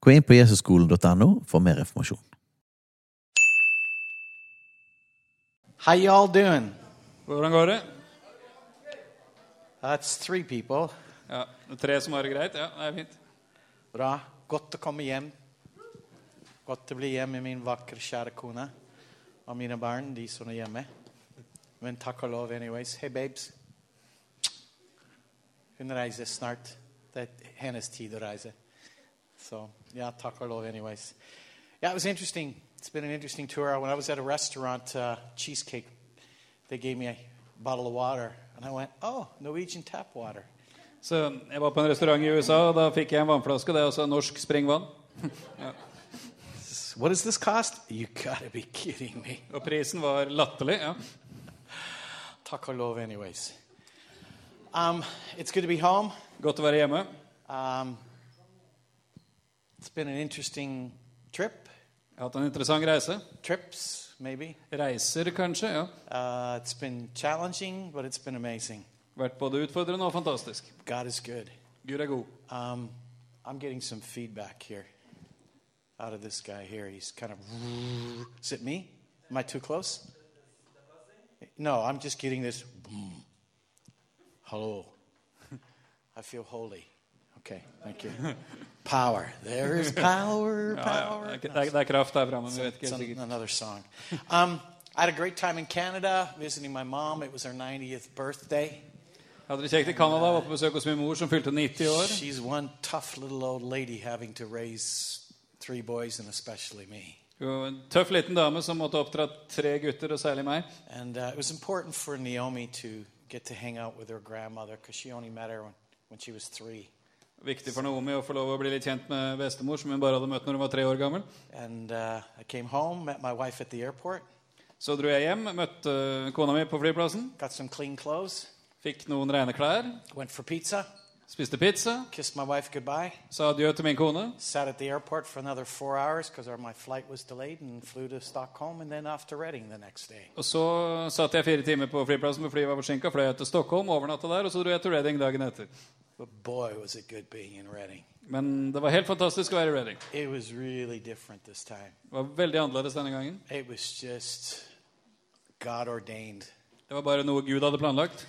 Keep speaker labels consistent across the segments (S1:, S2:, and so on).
S1: Gå inn på jesusskolen.no for mer informasjon.
S2: How y'all doing?
S3: Hvordan går det?
S2: That's three people.
S3: Ja, det er Tre som har det greit? Ja, det er fint.
S2: Bra. Godt å komme hjem. Godt å bli hjemme med min vakre, kjære kone og mine barn, de som er hjemme. Men takk og lov anyways. Hei, babes. Hun reiser snart. Det er hennes tid å reise. So, yeah, taco love anyways. Yeah, it was interesting. It's been an interesting tour. When I was at a restaurant, uh, Cheesecake, they gave me a bottle of water. And I went, oh, Norwegian tap water.
S3: Så Jeg var på en restaurant i USA, og da fikk jeg en vannflaske. Det er altså norsk sprengvann.
S2: What does this cost? You gotta be kidding me.
S3: Og prisen var latterlig. ja.
S2: Taco love anyways. Um, it's good to be home.
S3: Godt å være hjemme.
S2: Um, it's been an interesting trip.
S3: Jeg har hatt en interessant reise.
S2: Trips, maybe.
S3: Reiser, kanskje. ja.
S2: Uh, it's been challenging, but it's been amazing.
S3: Vært både utfordrende og fantastisk.
S2: God is good.
S3: Gud er god.
S2: Um, I'm getting some feedback here out of this guy here. He's kind of. Is it me? Am I too close? No, I'm just getting this. Hello. I feel holy. Okay, thank you. Power. There is power,
S3: Ja, ja.
S2: power.
S3: Det, er, ikke- det er- det er kraft der framme. men vi vet ikke
S2: It's
S3: helt
S2: an-
S3: sikkert.
S2: another song. Um, I had a great time in Canada visiting my mom. It was her 90th birthday.
S3: Hadde det kjekt i Canada. Var på besøk hos min mor, som fylte 90 år.
S2: She's one tough little old lady having to raise three boys and especially me.
S3: Hun var en tøff liten dame som måtte oppdra tre gutter, og særlig meg.
S2: And uh, it was important for Naomi to get to hang out with her grandmother because she only met her when, when she was three.
S3: Viktig for Naomi å få lov å bli litt kjent med bestemor, som hun bare hadde møtt når hun var tre år gammel.
S2: And uh, I came home, met my wife at the airport,
S3: Så dro jeg hjem, møtte eh, kona mi på flyplassen,
S2: got some clean clothes,
S3: fikk noen rene klær,
S2: went for pizza,
S3: spiste pizza,
S2: kissed my wife goodbye,
S3: sa adjø til min kone.
S2: sat at the airport for another four hours because my flight was delayed and flew to Stockholm and then off to Reading the next day.
S3: Og så satt jeg fire timer på flyplassen, for flyet var forsinka, fløy jeg til Stockholm, overnatta der, og så dro jeg til Reading dagen etter.
S2: But boy, was it good being in Reading.
S3: Men det var helt fantastisk å være i Reading.
S2: It was really different this time.
S3: Det var veldig annerledes denne gangen.
S2: It was just God ordained.
S3: Det var bare noe Gud hadde planlagt.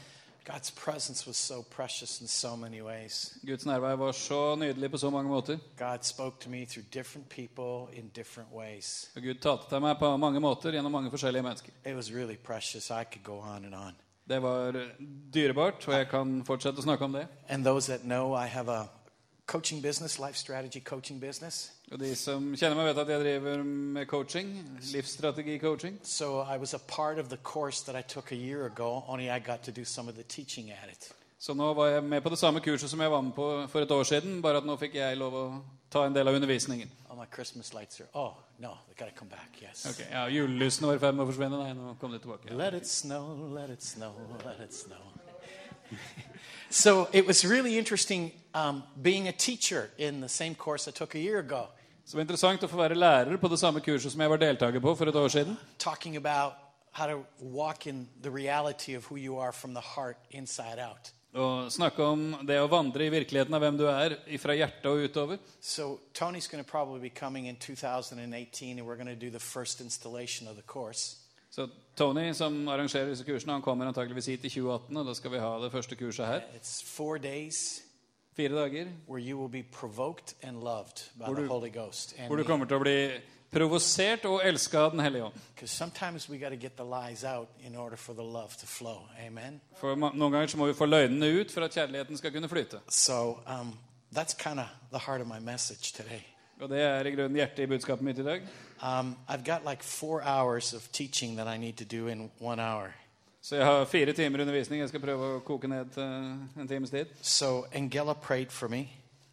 S2: God's presence was so precious in so many ways.
S3: Guds nærvær var så nydelig på så mange måter.
S2: God spoke to me through different people in different ways.
S3: Og Gud talte til meg på mange måter gjennom mange forskjellige mennesker.
S2: It was really precious. I could go on and on.
S3: Det var dyrebart, og jeg kan fortsette å snakke om det.
S2: And those that know, I have a coaching business, life strategy coaching business.
S3: Og de som kjenner meg, vet at jeg driver med coaching. Livsstrategi-coaching.
S2: So I was a part of the course that I took a year ago, only I got to do some of the teaching at it.
S3: Så nå var jeg med på det samme kurset som jeg var med på for et år siden, bare at nå fikk jeg lov å ta en del av undervisningen.
S2: Oh, my Christmas lights are. Oh, no, they got to come back, yes.
S3: Ok, ja, Julelysten var i ferd med å forsvinne. Nei, nå kom de tilbake.
S2: Let it snow, let it snow, let it snow. so it was really interesting um, being a teacher in the same course I took a year ago,
S3: Så det var interessant å få være lærer på det samme kurset som jeg var deltaker på for et år siden.
S2: talking about how to walk in the reality of who you are from the heart, inside out.
S3: Og snakke om det å vandre i virkeligheten av hvem du er, fra hjertet og utover.
S2: So Tony's going to probably be coming in 2018, and we're going to do the first installation of the course.
S3: Så Tony, som arrangerer disse kursene, han kommer antakeligvis hit i 2018, og da skal vi ha det første kurset her.
S2: It's four days
S3: Fire dager.
S2: where you will be provoked and loved by
S3: Hvor
S2: the
S3: du-
S2: Holy Ghost.
S3: Hvor du kommer til å bli provosert og elska av Den hellige ånd.
S2: Because sometimes we got to get the lies out in order for the love to flow. Amen.
S3: For ma- noen ganger så må vi få løgnene ut for at kjærligheten skal kunne flyte.
S2: So um, that's kind of the heart of my message today.
S3: Og det er i grunnen hjertet i budskapet mitt i dag.
S2: Um, I've got like four hours of teaching that I need to do in one hour.
S3: Så jeg har fire timer undervisning. Jeg skal prøve å koke ned til en times eh, tid.
S2: So Angela prayed for me.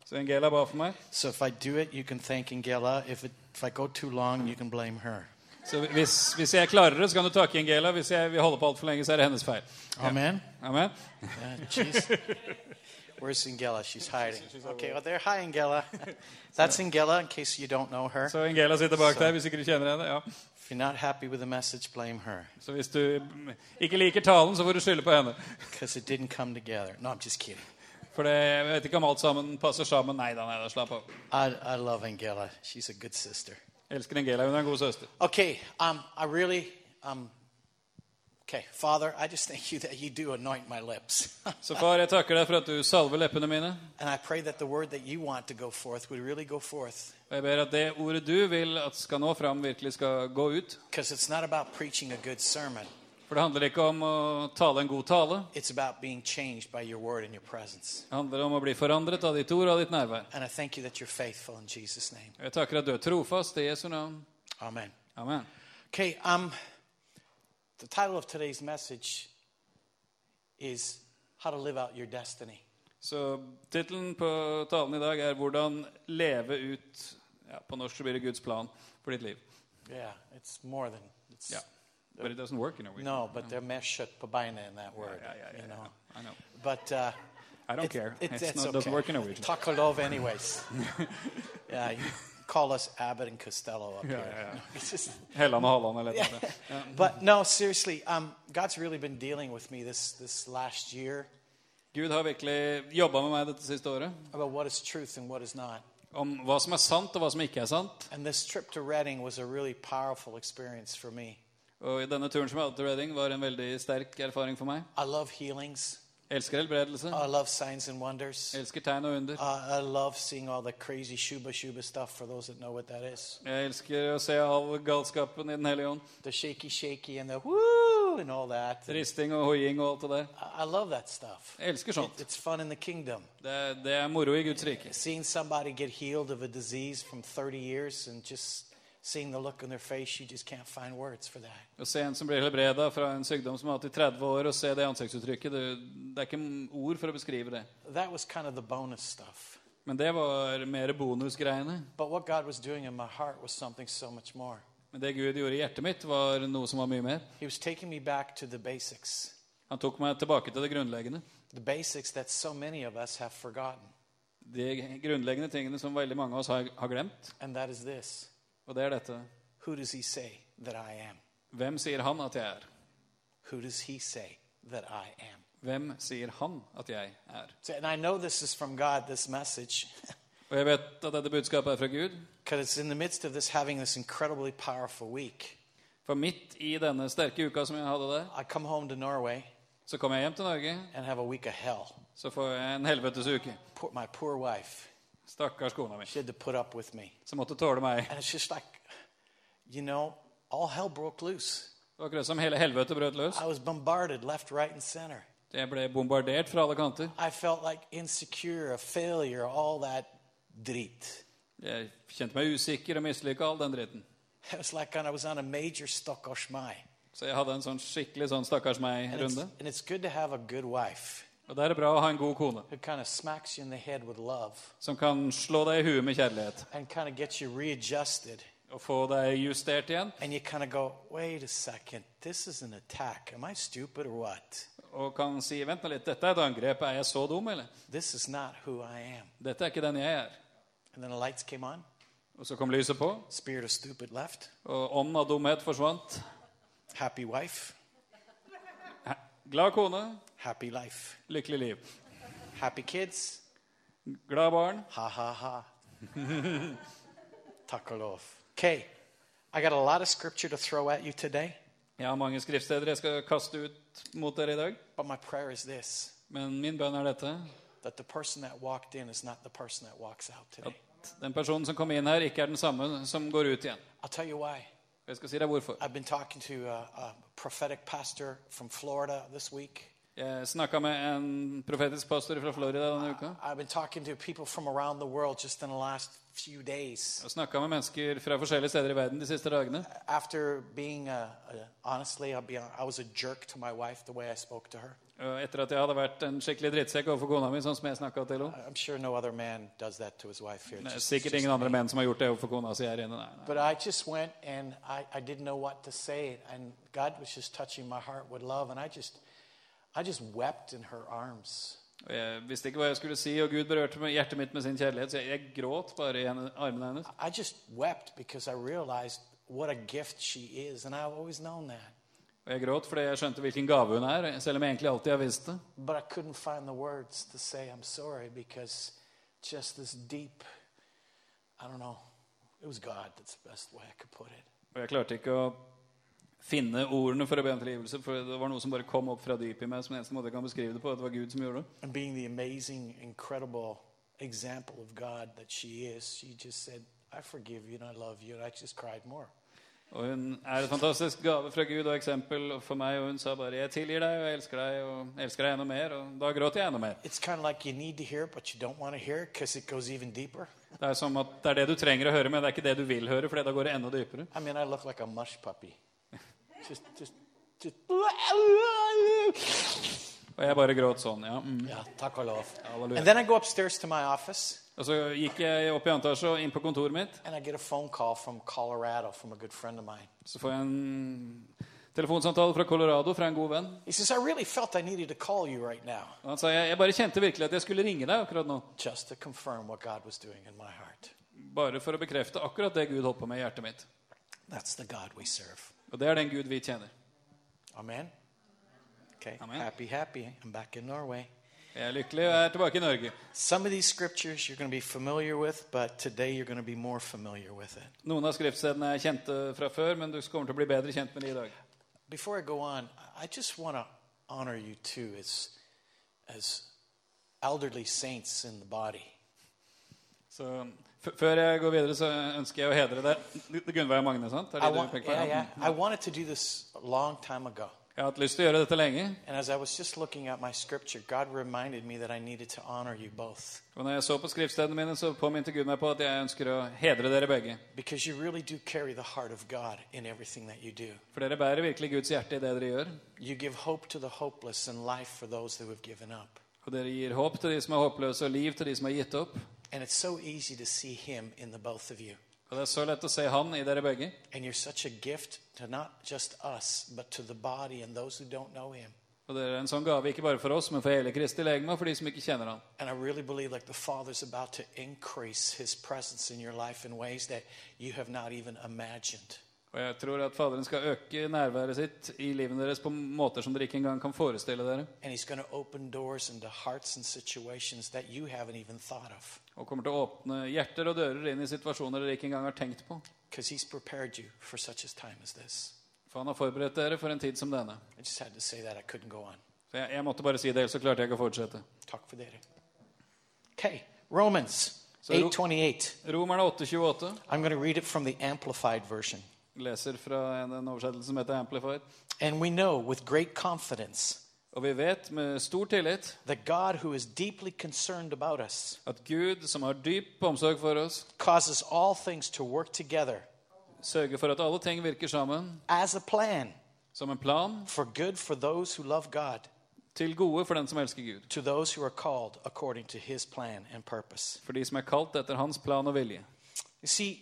S3: Så Angela ba for meg.
S2: So if I do it, you can thank Angela. If, it, if I go too long, you can blame her.
S3: Så hvis, hvis jeg klarer det, så kan du takke Angela. Hvis jeg vil holde på altfor lenge, så er det hennes feil.
S2: Amen.
S3: Amen.
S2: Yeah, jeez. Where's Angela? She's hiding. Okay, well, there. Hi, Angela. That's Angela, in case you don't know her.
S3: Så Angela sitter bak deg hvis ikke du kjenner henne. ja.
S2: If you're not happy with the message, blame her
S3: Så hvis du mm, ikke liker talen, så får du skylde på henne.
S2: because it didn't come together. No, I'm just kidding.
S3: For det, jeg vet ikke om alt sammen passer sammen. Nei da, nei da, slapp av.
S2: I, I love Angela. She's a good sister.
S3: Elsker Angela, hun er en god søster.
S2: Okay, um, I really, um, okay, Father, I just thank you that you do anoint my lips.
S3: Så far, jeg takker deg for at du salver leppene mine.
S2: and I pray that the word that you want to go forth would really go forth
S3: Og jeg ber at det ordet du vil at skal nå fram, virkelig skal gå ut.
S2: because it's not about preaching a good sermon,
S3: For det handler ikke om å tale en god tale.
S2: it's about being changed by your word and your presence.
S3: Det handler om å bli forandret av ditt ord og av ditt nærvær.
S2: And I thank you that you're faithful in Jesus' name.
S3: Og jeg takker at du er trofast i Jesu navn.
S2: Amen.
S3: Amen.
S2: Okay, um, the title of today's message is How to Live Out Your Destiny.
S3: Så tittelen på talen i dag er 'Hvordan leve ut ja, På norsk så blir det Guds plan for ditt liv.
S2: Yeah, it's more than it's
S3: Ja. But it doesn't work in a week.
S2: no, but they're meshet pabaina in that word,
S3: yeah, yeah,
S2: you know.
S3: I know.
S2: But uh,
S3: I don't
S2: it-
S3: care.
S2: it-
S3: It's
S2: that's
S3: not-
S2: okay.
S3: doesn't work in Norwegian.
S2: Takolov, anyways. yeah, you call us Abbott and Costello up here.
S3: yeah, yeah.
S2: It's just-
S3: Helland og Halland eller et eller annet.
S2: but no, seriously, um, God's really been dealing with me this this last year
S3: Gud har virkelig jobba med meg dette siste året.
S2: about what is truth and what is not.
S3: Om hva som er sant, og hva som ikke er sant.
S2: And this trip to Reading was a really powerful experience for me.
S3: Og i denne turen som jeg hadde til Reading, var en veldig sterk erfaring for meg.
S2: I love healings.
S3: Elsker helbredelse.
S2: I love signs and wonders.
S3: Elsker tegn og under.
S2: Uh, I love seeing all the crazy shuba shuba stuff for those that know what that is.
S3: Jeg elsker å se all galskapen i Den hellige ånd.
S2: The shaky shaky and the woo and all that.
S3: Risting og hoiing og alt det der.
S2: I- I love that stuff.
S3: Jeg elsker sånt.
S2: It's fun in the kingdom.
S3: Det er, det er moro i Guds rike.
S2: Seeing somebody get healed of a disease from 30 years and just seeing the look on their face, you just can't find words for that.
S3: Å se en som blir helbreda fra en sykdom som har hatt i 30 år, og se det ansiktsuttrykket det, det er ikke ord for å beskrive det.
S2: That was kind of the bonus stuff.
S3: Men det var mer bonusgreiene.
S2: But what God was doing in my heart was something so much more.
S3: Men det Gud gjorde i hjertet mitt, var noe som var mye mer.
S2: He was taking me back to the basics,
S3: Han tok meg tilbake til det grunnleggende.
S2: the basics that so many of us have forgotten.
S3: De grunnleggende tingene som veldig mange av oss har, har glemt.
S2: And that is this
S3: Og det er dette.
S2: Who does he say that I am?
S3: Hvem sier han at jeg er?
S2: Who does he say that I am?
S3: Hvem sier han at jeg er?
S2: So, and I know this is from God, this message,
S3: Og jeg vet at dette budskapet er fra Gud.
S2: because it's in the midst of this having this incredibly powerful week.
S3: For midt i denne sterke uka som jeg hadde der,
S2: I come home to Norway
S3: så kom jeg hjem til Norge,
S2: and have a week of hell.
S3: så får jeg en helvetes uke.
S2: Poor, my poor wife,
S3: Stakkars kona mi,
S2: she had to put up with me.
S3: som måtte tåle meg.
S2: And it's just like, you know, all hell broke loose.
S3: Det var akkurat som hele helvete brøt løs.
S2: I was bombarded left, right, and center.
S3: Jeg ble bombardert fra alle kanter.
S2: I felt like insecure, a failure, all that drit.
S3: Jeg kjente meg usikker og mislykka all den dritten.
S2: It was like I was on a major Stockholmsmai.
S3: Så jeg hadde en sånn skikkelig sånn stakkars
S2: And it's,
S3: meg-runde.
S2: and it's good to have a good wife
S3: Og da er det bra å ha en god kone
S2: who kind of smacks you in the head with love
S3: som kan slå deg i huet med kjærlighet
S2: and kind of gets you readjusted.
S3: og få deg justert igjen.
S2: And you kind of go, wait a second, this is an attack. Am I stupid or what?
S3: Og kan si 'Vent nå litt, dette er et angrep. Er jeg så dum, eller?'
S2: This is not who I am.
S3: Dette er ikke den jeg er.
S2: And then the lights came on,
S3: Og så kom lyset på,
S2: spirit of stupid left,
S3: og ånden av dumhet forsvant.
S2: happy wife,
S3: Glad kone,
S2: happy life,
S3: lykkelig liv.
S2: happy kids,
S3: Glad barn.
S2: ha ha ha. Takolov. Okay, I got a lot of scripture to throw at you today,
S3: Jeg har mange skriftsteder jeg skal kaste ut mot dere i dag.
S2: but my prayer is this
S3: Men min bønn er dette.
S2: that the person that walked in is not the person that walks out today.
S3: At den personen som kom inn her, ikke er den samme som går ut igjen.
S2: I'll tell you why.
S3: Og Jeg skal si deg hvorfor.
S2: uh, I've been talking to a, a prophetic pastor from Florida this week.
S3: Jeg Jeg snakka med en profetisk pastor fra Florida denne uka.
S2: I've been talking to people from around the world just in the last few days.
S3: Og snakka med mennesker fra forskjellige steder i verden de siste dagene.
S2: After being, uh, uh, honestly, I'll be, I was a jerk to my wife the way I spoke to her.
S3: Og Etter at jeg hadde vært en skikkelig drittsekk overfor kona mi, sånn som jeg snakket til henne.
S2: I'm sure no other man does that to his wife here.
S3: Det er
S2: just-
S3: sikkert
S2: just
S3: ingen andre
S2: me.
S3: menn som har gjort det overfor kona si her inne. Nei, nei.
S2: But I just went and I, I didn't know what to say, and God was just touching my heart with love, and I just, I just wept in her arms.
S3: Og jeg visste ikke hva jeg skulle si, og Gud berørte med hjertet mitt med sin kjærlighet, så jeg, jeg gråt bare i henne, armene hennes.
S2: I just wept because I realized what a gift she is, and I've always known that,
S3: Og jeg gråt fordi jeg skjønte hvilken gave hun er, selv om jeg egentlig alltid har visst det.
S2: but I couldn't find the words to say I'm sorry because just this deep, I don't know, it was God. That's the best way I could put it.
S3: Og jeg klarte ikke å finne ordene for å be om tilgivelse, for det var noe som bare kom opp fra dypet i meg, som den eneste måte jeg kan beskrive det på, at det var Gud som gjorde det.
S2: and being the amazing, incredible example of God that she is, she just said, I forgive you and I love you. And I just cried more.
S3: Og hun er en fantastisk gave fra Gud og eksempel for meg, og hun sa bare 'Jeg tilgir deg, og jeg elsker deg, og jeg elsker deg enda mer', og da gråt jeg enda mer.
S2: It's kind of like you need to hear it, but you don't want to hear it because it goes even deeper.
S3: Det er som at det er det du trenger å høre, men det er ikke det du vil høre, for da går det enda dypere.
S2: I mean, I look like a mush puppy. just, just, just.
S3: Og jeg bare gråt sånn, ja. Mm.
S2: yeah, Takolov.
S3: Hallelujah.
S2: And then I go upstairs to my office
S3: Og så gikk jeg opp i andre etasje og inn på kontoret mitt.
S2: and I get a phone call from Colorado from a good friend of mine.
S3: Så får jeg en telefonsamtale fra Colorado fra en god venn.
S2: He says, I really felt I needed to call you right now
S3: Og han sa jeg, jeg bare kjente virkelig at jeg skulle ringe deg akkurat nå.
S2: just to confirm what God was doing in my heart.
S3: Bare for å bekrefte akkurat det Gud holdt på med i hjertet mitt.
S2: That's the God we serve.
S3: Og det er den Gud vi tjener.
S2: Amen. Okay.
S3: Amen.
S2: Happy, happy. I'm back in Norway.
S3: Jeg er lykkelig og jeg er tilbake i Norge.
S2: Some of these scriptures you're going to be familiar with, but today you're going to be more familiar with it.
S3: Noen av skriftstedene jeg kjente fra før, men du kommer til å bli bedre kjent med de i dag.
S2: Before I go on, I just want to honor you too as, as elderly saints in the body.
S3: Så f Før jeg går videre, så ønsker jeg å hedre deg. Gunveig og Magne, sant? Er
S2: I,
S3: det det
S2: want,
S3: du peker på?
S2: yeah, yeah.
S3: Ja.
S2: I wanted to do this a long time ago.
S3: Jeg har hatt lyst til å gjøre dette lenge.
S2: And as I was just looking at my scripture, God reminded me that I needed to honor you both
S3: Og når jeg så på skriftstedene mine, så påminte Gud meg på at jeg ønsker å hedre dere begge.
S2: because you really do carry the heart of God in everything that you do.
S3: For dere bærer virkelig Guds hjerte i det dere gjør.
S2: You give hope to the hopeless and life for those who have given up.
S3: Og dere gir håp til de som er håpløse, og liv til de som har gitt opp.
S2: And it's so easy to see Him in the both of you.
S3: Og det er så lett å se Han i dere begge.
S2: And you're such a gift to not just us, but to the body and those who don't know Him.
S3: Og dere er en sånn gave ikke bare for oss, men for hele Kristi legeme og for de som ikke kjenner Han.
S2: And I really believe like the Father's about to increase His presence in your life in ways that you have not even imagined.
S3: Og jeg tror at Faderen skal øke nærværet sitt i livet deres på måter som dere ikke engang kan forestille dere.
S2: And He's going to open doors into hearts and situations that you haven't even thought of
S3: Og kommer til å åpne hjerter og dører inn i situasjoner dere ikke engang har tenkt på.
S2: because He's prepared you for such a time as this.
S3: For Han har forberedt dere for en tid som denne.
S2: I just had to say that. I couldn't go on.
S3: Så jeg, jeg måtte bare si det, ellers så klarte jeg ikke å fortsette.
S2: Talk for later. Okay, Romans
S3: So-
S2: 8:28.
S3: Romerne 8,28
S2: I'm going to read it from the amplified version.
S3: leser fra en, en oversettelse som heter Amplified.
S2: And we know with great confidence
S3: Og vi vet med stor tillit
S2: that God who is deeply concerned about us
S3: at Gud, som har dyp omsorg for oss,
S2: causes all things to work together
S3: sørger for at alle ting virker sammen,
S2: as a plan
S3: som en plan,
S2: for good for those who love God,
S3: til gode for den som elsker Gud.
S2: to those who are called according to his plan and purpose.
S3: For de som er kalt etter hans plan og vilje.
S2: You see,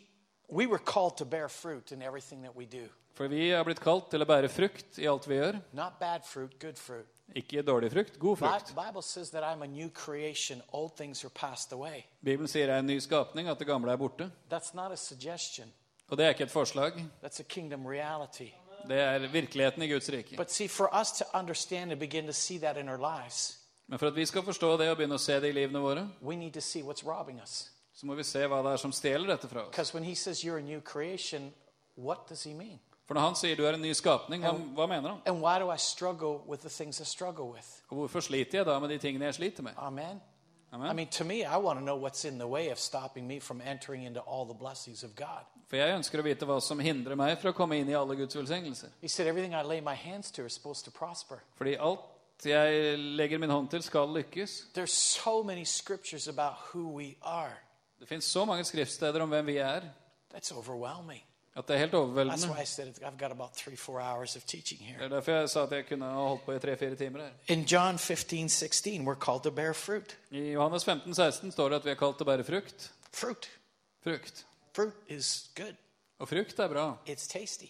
S2: we were called to bear fruit in everything that we do.
S3: For vi er blitt kalt til å bære frukt i alt vi gjør.
S2: Not bad fruit, good fruit.
S3: Ikke dårlig frukt, god
S2: Bi-
S3: frukt.
S2: Bible says that I'm a new creation. Old things are passed away.
S3: Bibelen sier det er en ny skapning, at det gamle er borte.
S2: That's not a suggestion.
S3: Og det er ikke et forslag.
S2: That's a kingdom reality.
S3: Det er virkeligheten i Guds rike.
S2: But see, for us to understand and begin to see that in our lives,
S3: Men for at vi skal forstå det og begynne å se det i livene våre,
S2: we need to see what's robbing us.
S3: så må vi se hva det er som stjeler dette fra oss.
S2: Because when he says you're a new creation, what does he mean?
S3: For når han sier du er en ny skapning, hva, hva mener han?
S2: And why do I struggle with the things I struggle with?
S3: Og hvorfor sliter jeg da med de tingene jeg sliter med?
S2: Amen. I
S3: Amen.
S2: mean, to me, I want to know what's in the way of stopping me from entering into all the blessings of God.
S3: For jeg ønsker å vite hva som hindrer meg fra å komme inn i alle Guds velsignelser.
S2: He said, Everything I lay my hands to is supposed to prosper.
S3: Fordi alt jeg legger min hånd til, skal lykkes.
S2: There's so many scriptures about who we are.
S3: Det fins så mange skriftsteder om hvem vi er,
S2: That's overwhelming.
S3: at det er helt
S2: That's why
S3: overveldende.
S2: I said it- I've got about three, four hours of teaching
S3: Det
S2: here.
S3: er derfor jeg sa at jeg kunne ha holdt på i tre-fire timer her.
S2: In John 15, 16, we're called to bear fruit.
S3: I Johannes 15, 16 står det at vi er kalt til å bære frukt.
S2: Fruit.
S3: Frukt.
S2: Fruit is good.
S3: Og frukt er bra.
S2: It's tasty.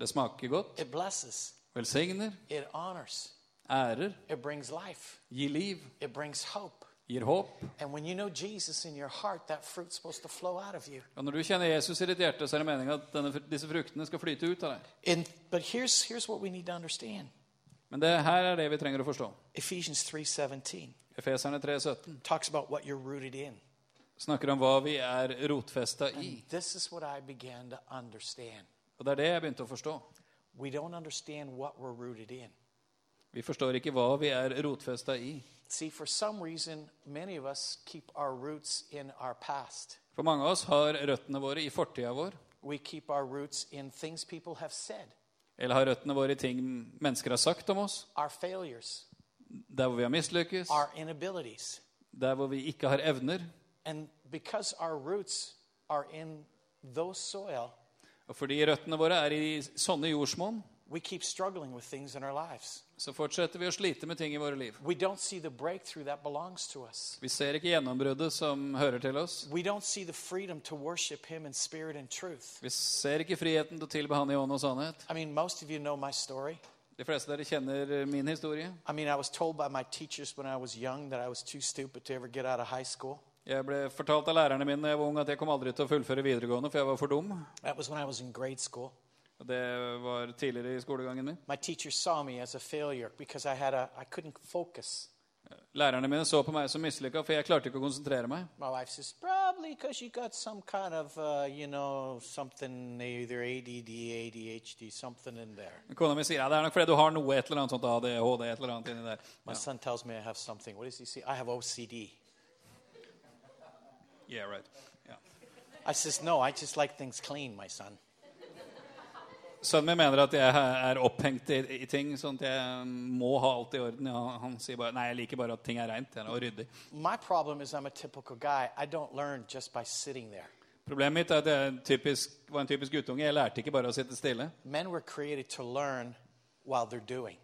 S3: Det smaker godt,
S2: It blesses.
S3: velsigner,
S2: It honors.
S3: ærer,
S2: It brings life.
S3: gir liv,
S2: It brings hope.
S3: gir håp.
S2: And when you know Jesus in your heart, that fruit's supposed to flow out of you.
S3: Og når du kjenner Jesus i ditt hjerte, så er det meninga at denne, disse fruktene skal flyte ut av deg.
S2: And, but here's, here's what we need to understand.
S3: Men det her er det vi trenger å forstå.
S2: Ephesians 3:17
S3: Efeserne 3,17
S2: talks about what you're rooted in.
S3: snakker om hva vi er rotfesta i.
S2: This is what I began to understand.
S3: Og det er det jeg begynte å forstå.
S2: We don't understand what we're rooted in.
S3: Vi forstår ikke hva vi er rotfesta i.
S2: See, for some reason, many of us keep our roots in our past.
S3: For mange av oss har røttene våre i fortida vår,
S2: We keep our roots in things people have said,
S3: eller har røttene våre i ting mennesker har sagt om oss,
S2: our failures,
S3: der hvor vi har mislykkes,
S2: our inabilities.
S3: der hvor vi ikke har evner.
S2: And because our roots are in those soil,
S3: Og fordi røttene våre er i sånne jordsmonn,
S2: we keep struggling with things in our lives.
S3: så fortsetter vi å slite med ting i våre liv.
S2: We don't see the breakthrough that belongs to us.
S3: Vi ser ikke gjennombruddet som hører til oss.
S2: We don't see the freedom to worship Him in spirit and truth.
S3: Vi ser ikke friheten til å tilbe Han i ånd og sannhet.
S2: I mean, most of you know my story.
S3: De fleste av dere kjenner min historie.
S2: I mean, I was told by my teachers when I was young that I was too stupid to ever get out of high school.
S3: Jeg ble fortalt av lærerne mine da jeg var ung, at jeg kom aldri til å fullføre videregående, for jeg var for dum.
S2: That was when I was in grade school.
S3: Og Det var tidligere i skolegangen min.
S2: My teachers saw me as a failure because I had a I couldn't focus.
S3: Lærerne mine så på meg som mislykka, for jeg klarte ikke å konsentrere meg.
S2: My wife says probably because you got some kind of uh, you know something either ADD, ADHD, something in there.
S3: Kona mi sier ja, det er nok fordi du har noe et eller annet sånt ADHD et eller annet inni der.
S2: My son tells me I have something. What does he see? I have OCD.
S3: Yeah, right. Ja.
S2: I says no. I just like things clean, my son.
S3: Sønnen min mener at jeg er opphengt i, i ting, sånn at jeg må ha alt i orden. Ja, han sier bare nei, jeg liker bare at ting er reint ja, og ryddig.
S2: My problem is I'm a typical guy. I don't learn just by sitting there.
S3: Problemet mitt er at jeg er en typisk, var en typisk guttunge. Jeg lærte ikke bare å sitte stille.
S2: Men were created to learn while they're doing.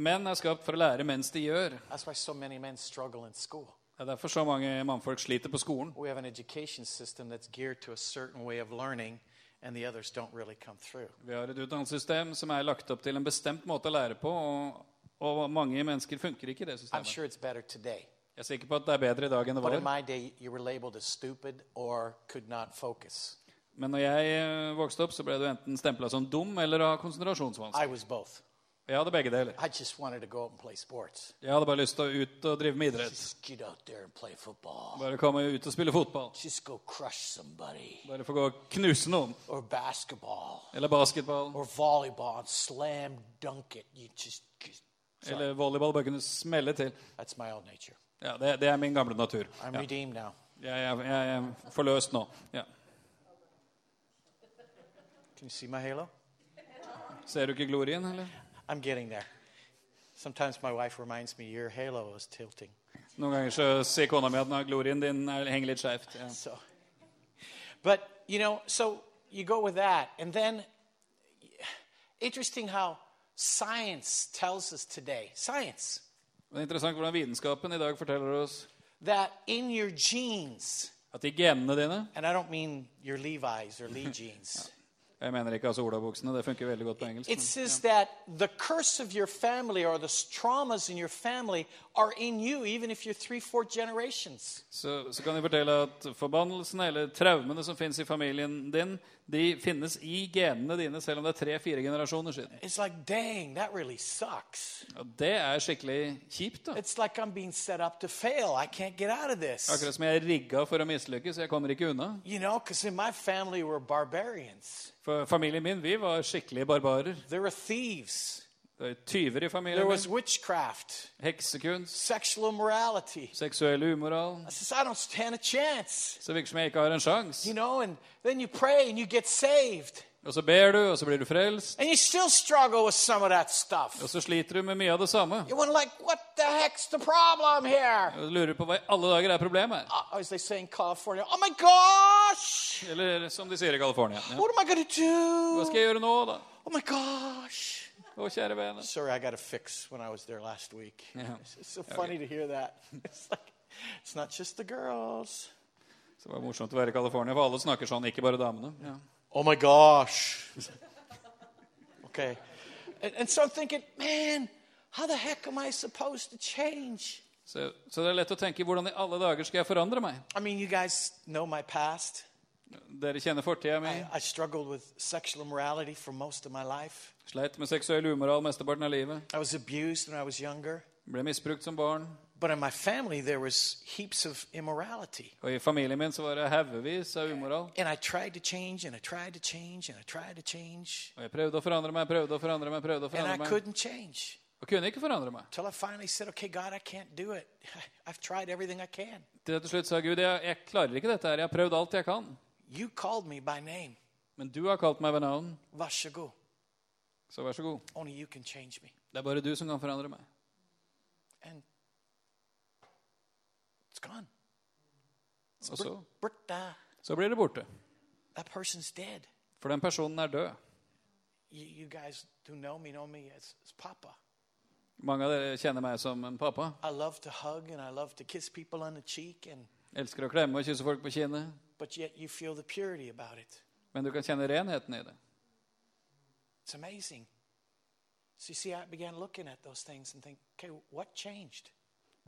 S3: Menn er skapt for å lære mens de gjør.
S2: That's why so many men struggle in school.
S3: Det er derfor så mange mannfolk sliter på skolen.
S2: We have an education system that's geared to a certain way of learning, and the others don't really come through.
S3: Vi har et utdannelsessystem som er lagt opp til en bestemt måte å lære på, og, og mange mennesker funker ikke i det
S2: I'm
S3: systemet.
S2: sure it's better today.
S3: Jeg er sikker på at det er bedre i dag enn det
S2: But in
S3: var.
S2: my day, you were labeled as stupid or could not focus.
S3: Men når jeg eh, vokste opp, så ble du enten stempla som dum eller av konsentrasjonsvansker.
S2: I was both.
S3: Jeg hadde begge deler.
S2: I just wanted to go out and play sports.
S3: Jeg hadde bare lyst til å ut og drive med idrett.
S2: Just get out there and play football.
S3: Bare komme ut og spille fotball.
S2: Just go crush somebody.
S3: Bare få gå og knuse noen.
S2: Or basketball.
S3: Eller basketball.
S2: Or volleyball and slam dunk it. You just. just-
S3: Eller volleyball. Bare kunne smelle til.
S2: That's my old nature.
S3: Ja, Det, det er min gamle natur.
S2: I'm
S3: Ja.
S2: redeemed now.
S3: Jeg, jeg, jeg er forløst nå. Ja.
S2: Can you see my halo?
S3: Ser du ikke glorien, eller?
S2: I'm getting there. Sometimes my wife reminds me your halo is tilting.
S3: Noen ganger så sier kona mi at nei, glorien din er, henger litt skjevt. Ja.
S2: So, but you know, so you go with that, and then interesting how science tells us today, science
S3: Men Det er interessant hvordan vitenskapen i dag forteller oss
S2: that in your genes,
S3: at de genene dine
S2: and I don't mean your Levi's or Lee jeans.
S3: Jeg mener ikke altså olabuksene, det funker veldig godt på engelsk.
S2: It
S3: men-
S2: says that the curse of your family or the traumas in your family are in you, even if you're three, four generations.
S3: så, så kan de fortelle at forbannelsene eller traumene som finnes i familien din, de finnes i genene dine selv om det er tre-fire generasjoner siden.
S2: It's like, dang, that really sucks.
S3: Og det er skikkelig kjipt. da.
S2: It's like I'm being set up to fail. I can't get out of this.
S3: Akkurat som jeg er rigga for å mislykkes. Jeg kommer ikke unna.
S2: You know, because in my family, we're barbarians.
S3: For familien min, vi var skikkelige barbarer.
S2: There were thieves.
S3: Det var Tyver i
S2: There
S3: familien
S2: was
S3: min.
S2: witchcraft,
S3: Heksekunst.
S2: sexual immorality.
S3: Seksuell umoral.
S2: I says, I don't stand a chance.
S3: Så det virker som jeg ikke har en sjans.
S2: You know, and then you pray and you get saved.
S3: Og så ber du, og så blir du frelst.
S2: And you still struggle with some of that stuff.
S3: Og så sliter du med mye av det samme.
S2: You went like, what the heck's the problem here?
S3: Og lurer på hva i alle dager er problemet her.
S2: Oh, as they say in California, oh my gosh,
S3: Eller som de sier i California. Ja.
S2: what am I going to
S3: Hva
S2: do?
S3: skal jeg gjøre nå, da?
S2: Oh my gosh.
S3: Å, kjære vene.
S2: Sorry, I got a fix when I was there last week.
S3: Yeah.
S2: It's, it's so funny to hear that. It's like, it's not just the girls.
S3: Så det var morsomt å være i California, for alle snakker sånn, ikke bare damene. Ja.
S2: Oh my gosh. okay. And, and so I'm thinking, man, how the heck am I supposed to change?
S3: Så, så det er lett å tenke hvordan i alle dager skal jeg forandre meg?
S2: I mean, you guys know my past.
S3: Dere kjenner fortida mi.
S2: I, I struggled with sexual immorality for most of my life.
S3: Sleit med seksuell umoral mesteparten av livet.
S2: I was abused when I was younger.
S3: Ble misbrukt som barn.
S2: But in my family, there was heaps of immorality.
S3: Og i familien min så var det haugevis av umoral.
S2: And I tried to change and I tried to change and I tried to change.
S3: Og jeg prøvde å forandre meg, prøvde å forandre meg, prøvde å
S2: And I
S3: forandre meg.
S2: couldn't change
S3: Og kunne ikke forandre meg.
S2: till I finally said, okay, God, I can't do it. I've tried everything I can.
S3: Til til slutt sa Gud, jeg, jeg klarer ikke dette her. Jeg har prøvd alt jeg kan.
S2: You called me by name,
S3: Men du har kalt meg ved navn,
S2: Vashagu.
S3: så vær så god.
S2: Only you can change me.
S3: Det er bare du som kan forandre meg.
S2: And it's gone.
S3: Og så,
S2: Britta,
S3: så blir det borte.
S2: that person's dead.
S3: For den personen er død.
S2: You, you guys who know me know me as, as Papa.
S3: Mange av dere kjenner meg som en pappa.
S2: I love to hug and I love to kiss people on the cheek, and
S3: Elsker å klemme og kysse folk på kinnet.
S2: but yet you feel the purity about it.
S3: Men du kan kjenne renheten i det.
S2: It's amazing. So you see, I began looking at those things and think, okay, what changed?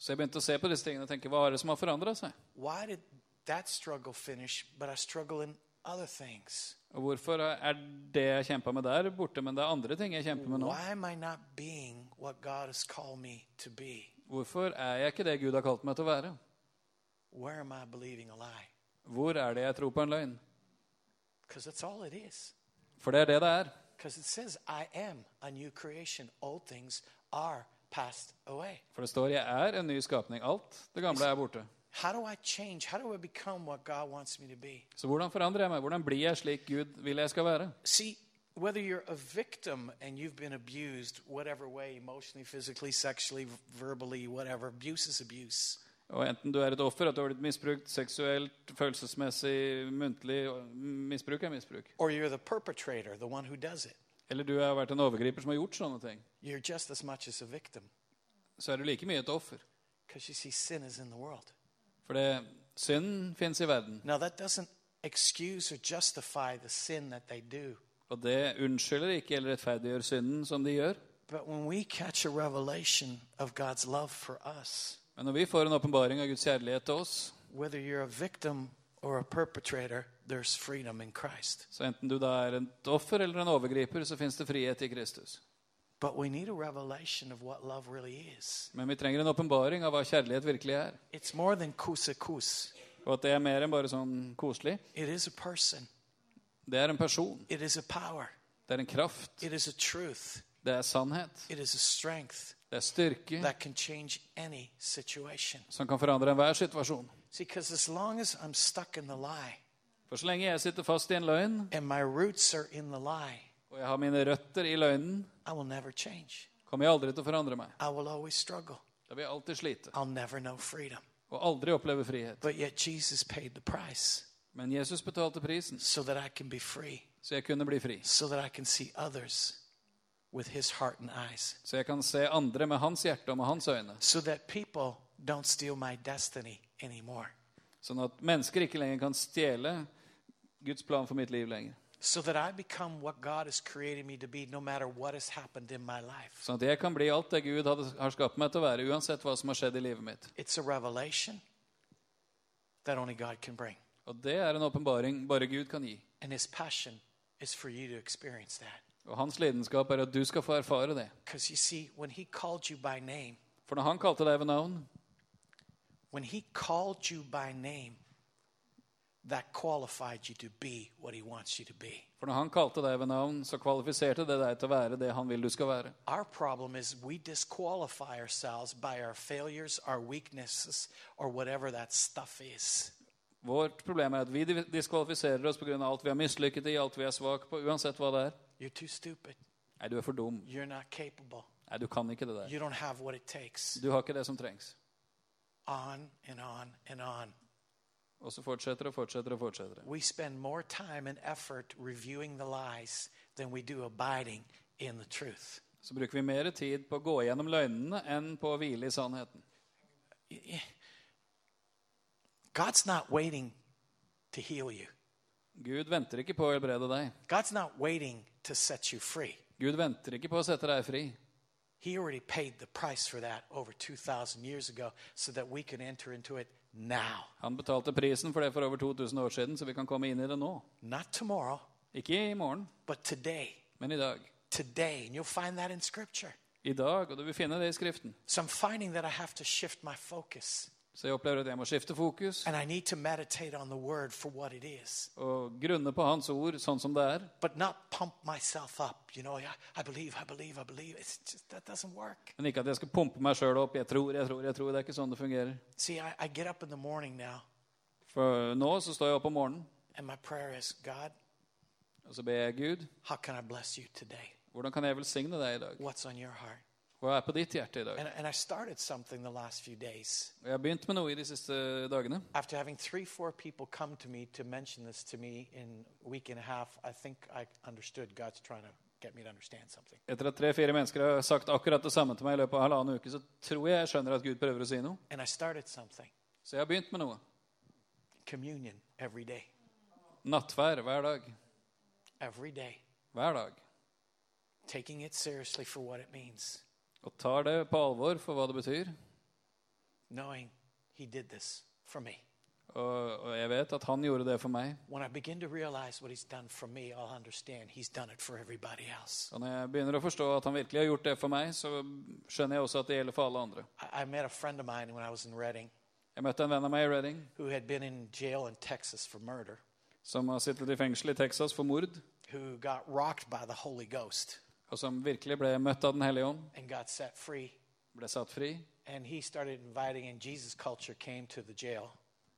S3: Så jeg begynte å se på disse tingene og tenke hva er det som har forandra seg?
S2: Why did that struggle finish, but I struggle in other things?
S3: Og hvorfor er det jeg kjempa med der, borte? Men det er andre ting jeg kjemper med nå.
S2: Why am I not being what God has called me to be?
S3: Hvorfor er jeg ikke det Gud har kalt meg til å være?
S2: Where am I believing a lie?
S3: Hvor er det jeg tror på en løgn?
S2: Because that's all it is.
S3: For det er det det er.
S2: Because it says, I am a new creation. Old things are passed away.
S3: For det står 'jeg er en ny skapning'. Alt det gamle er borte.
S2: How do I change? How do I become what God wants me to be?
S3: Så hvordan forandrer jeg meg? Hvordan blir jeg slik Gud vil jeg skal være?
S2: See, whether you're a victim and you've been abused, whatever way, emotionally, physically, sexually, verbally, whatever, abuse is abuse.
S3: Og enten du er et offer, at du har blitt misbrukt seksuelt, følelsesmessig, muntlig og Misbruk er misbruk.
S2: Or you're the perpetrator, the one who does it.
S3: Eller du har vært en overgriper som har gjort sånne ting.
S2: You're just as much as a victim.
S3: Så er du like mye et offer.
S2: Because you see, sin is in the world.
S3: For det, synd fins i verden.
S2: Now, that doesn't excuse or justify the sin that they do.
S3: Og det unnskylder ikke eller rettferdiggjør synden som de gjør.
S2: But when we catch a revelation of God's love for us,
S3: Men når vi får en åpenbaring av Guds kjærlighet til oss,
S2: whether you're a victim or a perpetrator, there's freedom in Christ.
S3: så enten du da er et offer eller en overgriper, så fins det frihet i Kristus.
S2: But we need a revelation of what love really is.
S3: Men vi trenger en åpenbaring av hva kjærlighet virkelig er.
S2: It's more than kusa kus.
S3: Og at det er mer enn bare sånn koselig.
S2: It is a person.
S3: Det er en person.
S2: It is a power.
S3: Det er en kraft.
S2: It is a truth.
S3: Det er sannhet.
S2: It is a strength
S3: Det er styrke
S2: that can change any situation.
S3: som kan forandre enhver situasjon.
S2: See, because as long as I'm stuck in the lie
S3: For så lenge jeg sitter fast i en løgn,
S2: and my roots are in the lie,
S3: og jeg har mine røtter i løgnen,
S2: I will never change.
S3: kommer jeg aldri til å forandre meg.
S2: I will always struggle.
S3: Da vil jeg alltid slite
S2: I'll never know freedom.
S3: og aldri oppleve frihet.
S2: But yet Jesus paid the price
S3: Men Jesus betalte prisen,
S2: so that I can be free,
S3: så jeg kunne bli fri.
S2: so that I can see others with his heart and eyes,
S3: Så jeg kan se andre med hans hjerte og med hans øyne.
S2: so that people don't steal my destiny anymore,
S3: Sånn at mennesker ikke lenger kan stjele Guds plan for mitt liv lenger.
S2: so that I become what God has created me to be no matter what has happened in my life.
S3: Sånn at jeg kan bli alt det Gud hadde, har skapt meg til å være, uansett hva som har skjedd i livet mitt.
S2: It's a revelation that only God can bring.
S3: Og det er en åpenbaring bare Gud kan gi.
S2: And his passion is for you to experience that.
S3: Og hans lidenskap er at du skal få erfare det.
S2: Because you see, when he called you by name,
S3: For når han kalte deg ved navn,
S2: when he called you by name, that qualified you to be what he wants you to be.
S3: for når han kalte deg ved navn, så kvalifiserte det deg til å være det han vil du skal være.
S2: Our problem is we disqualify ourselves by our failures, our weaknesses, or whatever that stuff is.
S3: Vårt problem er at vi diskvalifiserer oss pga. alt vi er mislykket i, alt vi er svake på, uansett hva det er.
S2: You're too stupid.
S3: Nei, du er for dum.
S2: You're not capable.
S3: Nei, du kan ikke det der.
S2: You don't have what it takes.
S3: Du har ikke det som trengs.
S2: On and on and on.
S3: Og så fortsetter og fortsetter og fortsetter.
S2: We spend more time and effort reviewing the lies than we do abiding in the truth.
S3: Så bruker vi mer tid på å gå gjennom løgnene enn på å hvile i sannheten.
S2: God's not waiting to heal you.
S3: Gud venter ikke på å helbrede deg.
S2: God's not waiting to set you free.
S3: Gud venter ikke på å sette deg fri.
S2: He already paid the price for that over 2,000 years ago so that we can enter into it now.
S3: Han betalte prisen for det for over 2000 år siden, så vi kan komme inn i det nå.
S2: Not tomorrow,
S3: Ikke i morgen,
S2: but today.
S3: men i dag.
S2: Today. And you'll find that in Scripture.
S3: I dag, og du vil finne det i Skriften.
S2: So I'm finding that I have to shift my focus
S3: Så jeg opplever at jeg må skifte fokus
S2: and I need to meditate on the Word for what it is,
S3: og grunne på Hans ord sånn som det er.
S2: but not pump myself up. You know, I, I believe, I believe, I believe. It's just, that doesn't work.
S3: Men ikke at jeg skal pumpe meg sjøl opp. Jeg tror, jeg tror, jeg tror. Det er ikke sånn det fungerer.
S2: See, I, I get up in the morning now
S3: For nå så står jeg opp om morgenen,
S2: and my prayer is God,
S3: og så ber jeg Gud,
S2: how can I bless you today?
S3: hvordan kan jeg velsigne deg i dag?
S2: What's on your heart?
S3: Hva er på ditt hjerte i dag?
S2: And, and I started something the last few days.
S3: Og Jeg har begynt med noe i de siste dagene.
S2: After having three, four people come to me to mention this to me in a week and a half, I think I understood God's trying to get me to understand something.
S3: Etter at tre-fire mennesker har sagt akkurat det samme til meg i løpet av halvannen uke, så tror jeg jeg skjønner at Gud prøver å si noe.
S2: And I started something
S3: Så jeg har begynt med noe.
S2: communion every day,
S3: Nattvær hver dag.
S2: every day,
S3: Hver dag.
S2: taking it seriously for what it means,
S3: Og tar det på alvor for hva det betyr.
S2: knowing He did this for me.
S3: Og, og jeg vet at han gjorde det for meg.
S2: When I begin to realize what He's done for me, I'll understand He's done it for everybody else.
S3: Og når jeg begynner å forstå at han virkelig har gjort det for meg, så skjønner jeg også at det gjelder for alle andre.
S2: I, I met a friend of mine when I was in Reading
S3: Jeg møtte en venn av meg i Reading
S2: who had been in jail in Texas for murder,
S3: som har sittet i fengsel i Texas for mord,
S2: who got rocked by the Holy Ghost
S3: og som virkelig ble møtt av Den hellige ånd,
S2: and got set free.
S3: ble satt fri.
S2: and he started inviting and jesus culture came to the jail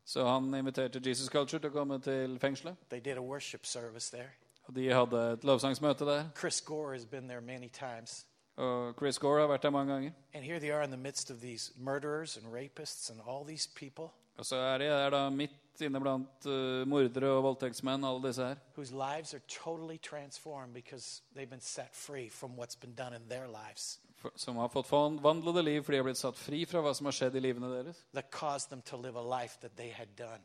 S3: Så han inviterte Jesus Culture til å komme til fengselet.
S2: they did a worship service there
S3: Og de hadde et lovsangsmøte der.
S2: chris gore has been there many times
S3: Og Chris Gore har vært der mange ganger.
S2: and here they are in the midst of these murderers and rapists and all these people
S3: Og så er de der da midt inne blant eh, mordere og voldtektsmenn, alle disse her.
S2: whose lives are totally transformed because they've been set free from what's been done in their lives
S3: For, som har fått forvandlede liv fordi de har blitt satt fri fra hva som har skjedd i livene deres.
S2: that caused them to live a life that they had done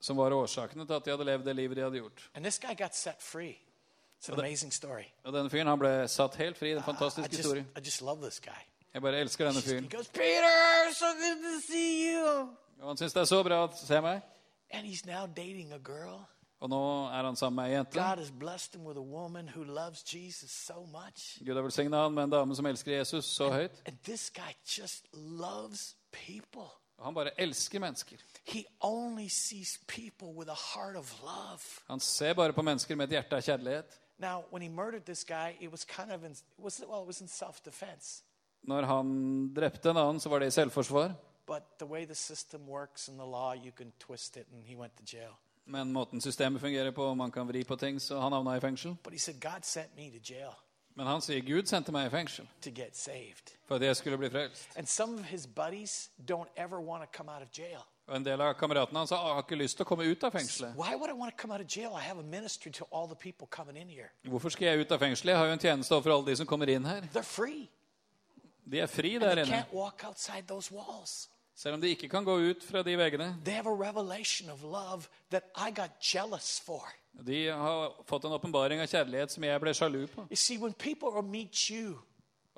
S3: Som var årsakene til at de hadde levd det livet de hadde gjort.
S2: and this guy got set free it's an amazing story
S3: Og denne fyren han ble satt helt fri. Det er en
S2: Ah, I
S3: fantastisk
S2: just,
S3: historie.
S2: I just love this guy
S3: Jeg bare elsker denne
S2: he
S3: fyren.
S2: goes peter so good to see you
S3: Og han syns det er så bra å se meg.
S2: and he's now dating a girl
S3: Og nå er han sammen med ei jente.
S2: God has blessed him with a woman who loves Jesus so much.
S3: Gud har velsigna han med en dame som elsker Jesus så høyt.
S2: And this guy just loves people.
S3: Og han bare elsker mennesker.
S2: He only sees people with a heart of love.
S3: Han ser bare på mennesker med et hjerte av kjærlighet.
S2: Now, when he murdered this guy, it was kind of in, it was, well, it was in self defense.
S3: Når han drepte en annen, så var det i selvforsvar.
S2: But the way the system works and the law, you can twist it, and he went to jail.
S3: Men måten systemet fungerer på, man kan vri på ting, så han havna i fengsel.
S2: But he said, God sent me to jail
S3: Men han sier Gud sendte meg i fengsel
S2: to get saved.
S3: for at jeg skulle bli frelst.
S2: And some of his buddies don't ever want to come out of jail.
S3: Og en del av kameratene hans «Ah, har ikke lyst til å komme ut av fengselet.
S2: Why would I want to come out of jail? I have a ministry to all the people coming in here.
S3: Hvorfor skal jeg ut av fengselet? Jeg har jo en tjeneste overfor alle de som kommer inn her.
S2: They're free.
S3: De er fri
S2: And
S3: der
S2: they
S3: inne.
S2: can't walk outside those walls.
S3: Selv om de ikke kan gå ut fra de veggene.
S2: They have a revelation of love that I got jealous for.
S3: De har fått en åpenbaring av kjærlighet som jeg ble sjalu på.
S2: You see, when people meet you,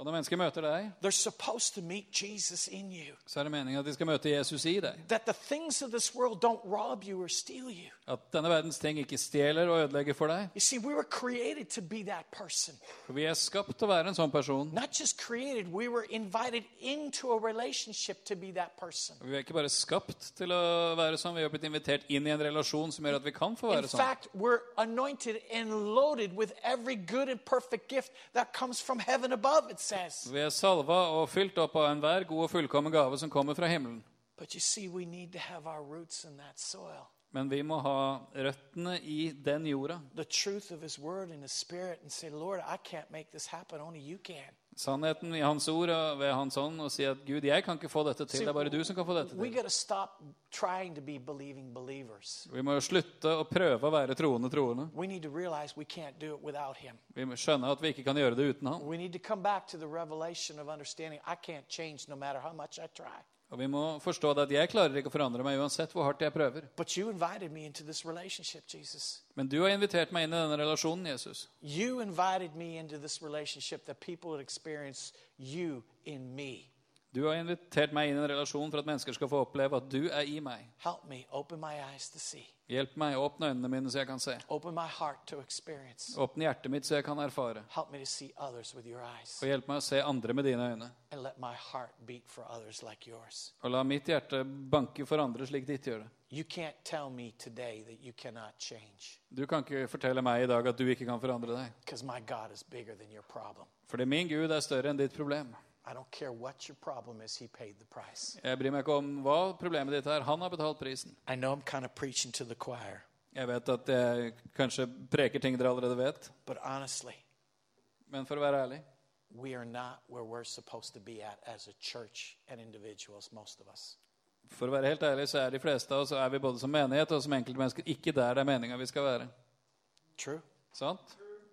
S3: Og når mennesker møter deg,
S2: they're supposed to meet Jesus in you.
S3: så er det meningen at de skal møte Jesus i deg.
S2: That the things of this world don't rob you or steal you.
S3: At denne verdens ting ikke stjeler og ødelegger for deg.
S2: You see, we were created to be that person.
S3: For vi er skapt til å være en sånn person.
S2: Not just created, we were invited into a relationship to be that person.
S3: Vi er ikke bare skapt til å være sånn, vi har blitt invitert inn i en relasjon som gjør at vi kan få
S2: In
S3: være sånn.
S2: fact, we're anointed and loaded with every good and perfect gift that comes from heaven above, it says.
S3: Vi er salva og fylt opp av enhver god og fullkommen gave som kommer fra himmelen.
S2: But you see, we need to have our roots in that soil.
S3: Men vi må ha røttene i den jorda,
S2: the truth of His Word and His Spirit and say, Lord, I can't make this happen. Only you can.
S3: sannheten i Hans ord og ved Hans ånd, og si at Gud, jeg kan ikke få dette til. Det er bare du som kan få dette
S2: We
S3: til.
S2: got to stop trying to be believing believers.
S3: Vi må jo slutte å prøve å være troende troende.
S2: We need to realize we can't do it without Him.
S3: Vi må skjønne at vi ikke kan gjøre det uten Han.
S2: We need to come back to the revelation of understanding I can't change no matter how much I try.
S3: Og vi må forstå det at jeg klarer ikke å forandre meg uansett hvor hardt jeg prøver.
S2: But you invited me into this relationship, Jesus.
S3: Men du har invitert meg inn i denne relasjonen, Jesus.
S2: You invited me into this relationship that people would experience you in me.
S3: Du har invitert meg inn i en relasjon for at mennesker skal få oppleve at du er i meg.
S2: Help me open my eyes to see,
S3: Hjelp meg å åpne øynene mine så jeg kan se.
S2: open my heart to experience.
S3: Åpne hjertet mitt så jeg kan erfare.
S2: Help me to see others with your eyes,
S3: Og hjelp meg å se andre med dine øyne.
S2: and let my heart beat for others like yours.
S3: Og la mitt hjerte banke for andre slik ditt gjør det.
S2: You can't tell me today that you cannot change
S3: Du kan ikke fortelle meg i dag at du ikke kan forandre deg.
S2: because my God is bigger than your problem.
S3: Fordi min Gud er større enn ditt problem.
S2: I don't care what your problem is, He paid the price.
S3: Jeg bryr meg ikke om hva problemet ditt er. Han har betalt prisen.
S2: I know I'm kind of preaching to the choir,
S3: Jeg vet at jeg kanskje preker ting dere allerede vet,
S2: but honestly,
S3: men for å være ærlig
S2: we are not where we're supposed to be at as a church and individuals, most of us.
S3: For å være helt ærlig så er de fleste av oss er vi både som menighet og som enkeltmennesker ikke der det er meninga vi skal være.
S2: True?
S3: Sant?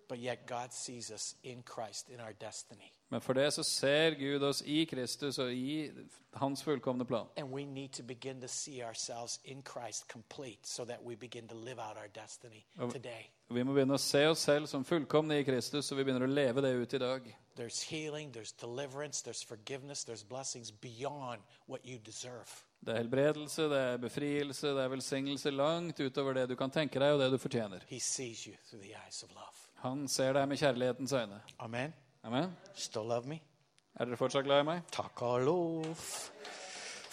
S2: But yet God sees us in Christ, in our destiny.
S3: Men for det så ser Gud oss i Kristus og i hans fullkomne plan.
S2: And we need to begin to see ourselves in Christ complete so that we begin to live out our destiny today.
S3: Vi må begynne å se oss selv som fullkomne i Kristus, og vi begynner å leve det ut i dag.
S2: There's healing, there's deliverance, there's forgiveness, there's blessings beyond what you deserve.
S3: Det er helbredelse, det er befrielse, det er velsignelse langt utover det du kan tenke deg, og det du fortjener.
S2: He sees you through the eyes of love.
S3: Han ser deg med kjærlighetens øyne.
S2: Amen.
S3: Amen.
S2: Still love me?
S3: Er dere fortsatt glad i meg?
S2: Takalov.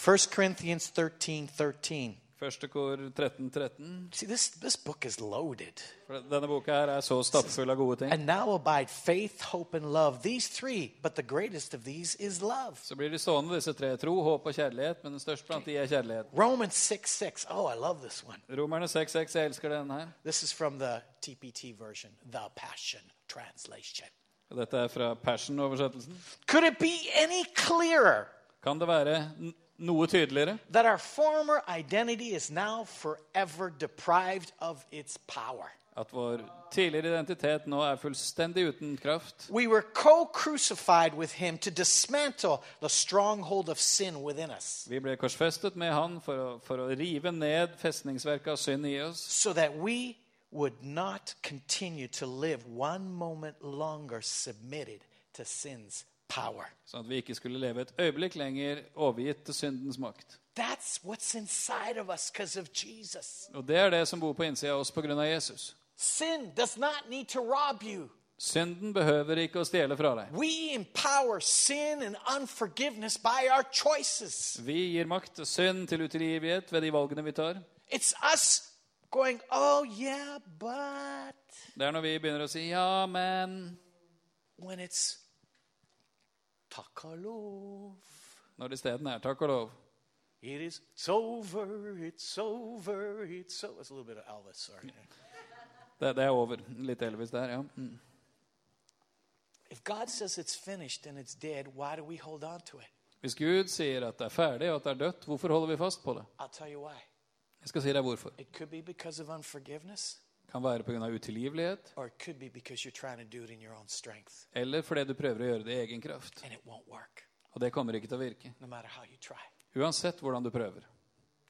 S2: 1 Corinthians 13 13.
S3: Første kor 13.13. 13.
S2: See, this, this book is loaded.
S3: For denne boka her er så stappfull av gode ting.
S2: And now abide faith, hope, and love. These three, but the greatest of these is love.
S3: Så blir de stående, disse tre. Tro, håp og kjærlighet, men den største blant de er kjærligheten.
S2: Romans 6 6. Oh, I love this one.
S3: Romerne 6.6. Jeg elsker denne her.
S2: This is from the TPT version, the Passion Translation.
S3: Og Dette er fra Passion-oversettelsen.
S2: Could it be any clearer
S3: Kan det være n- noe tydeligere?
S2: that our former identity is now forever deprived of its power?
S3: At vår tidligere identitet nå er fullstendig uten kraft.
S2: We were co crucified with him to dismantle the stronghold of sin within us
S3: Vi ble korsfestet med Han for å, for å rive ned festningsverket av synd i oss,
S2: so that we would not continue to live one moment longer submitted to sin's power.
S3: sånn at vi ikke skulle leve et øyeblikk lenger overgitt til syndens makt.
S2: That's what's inside of us because of Jesus.
S3: Og det er det som bor på innsida av oss på grunn av Jesus.
S2: Sin does not need to rob you.
S3: Synden behøver ikke å stjele fra deg.
S2: We empower sin and unforgiveness by our choices.
S3: Vi gir makt til synd, til utilgivighet, ved de valgene vi tar.
S2: It's us going, oh, yeah, but
S3: Det er når vi begynner å si 'ja, men'
S2: when it's takalov,
S3: når det isteden er takk og lov.
S2: it is, it's over, it's over, it's over. It's a little bit of Elvis, sorry.
S3: Det, det er over. Litt Elvis der, ja. Mm.
S2: If God says it's finished and it's dead, why do we hold on to it?
S3: Hvis Gud sier at det er ferdig og at det er dødt, hvorfor holder vi fast på det?
S2: I'll tell you why.
S3: Jeg skal si deg hvorfor.
S2: It could be because of unforgiveness,
S3: Det kan være pga. utilgivelighet,
S2: or it could be because you're trying to do it in your own strength,
S3: eller fordi du prøver å gjøre det i egen kraft.
S2: and it won't work,
S3: Og det kommer ikke til å virke.
S2: no matter how you try.
S3: Uansett hvordan du prøver.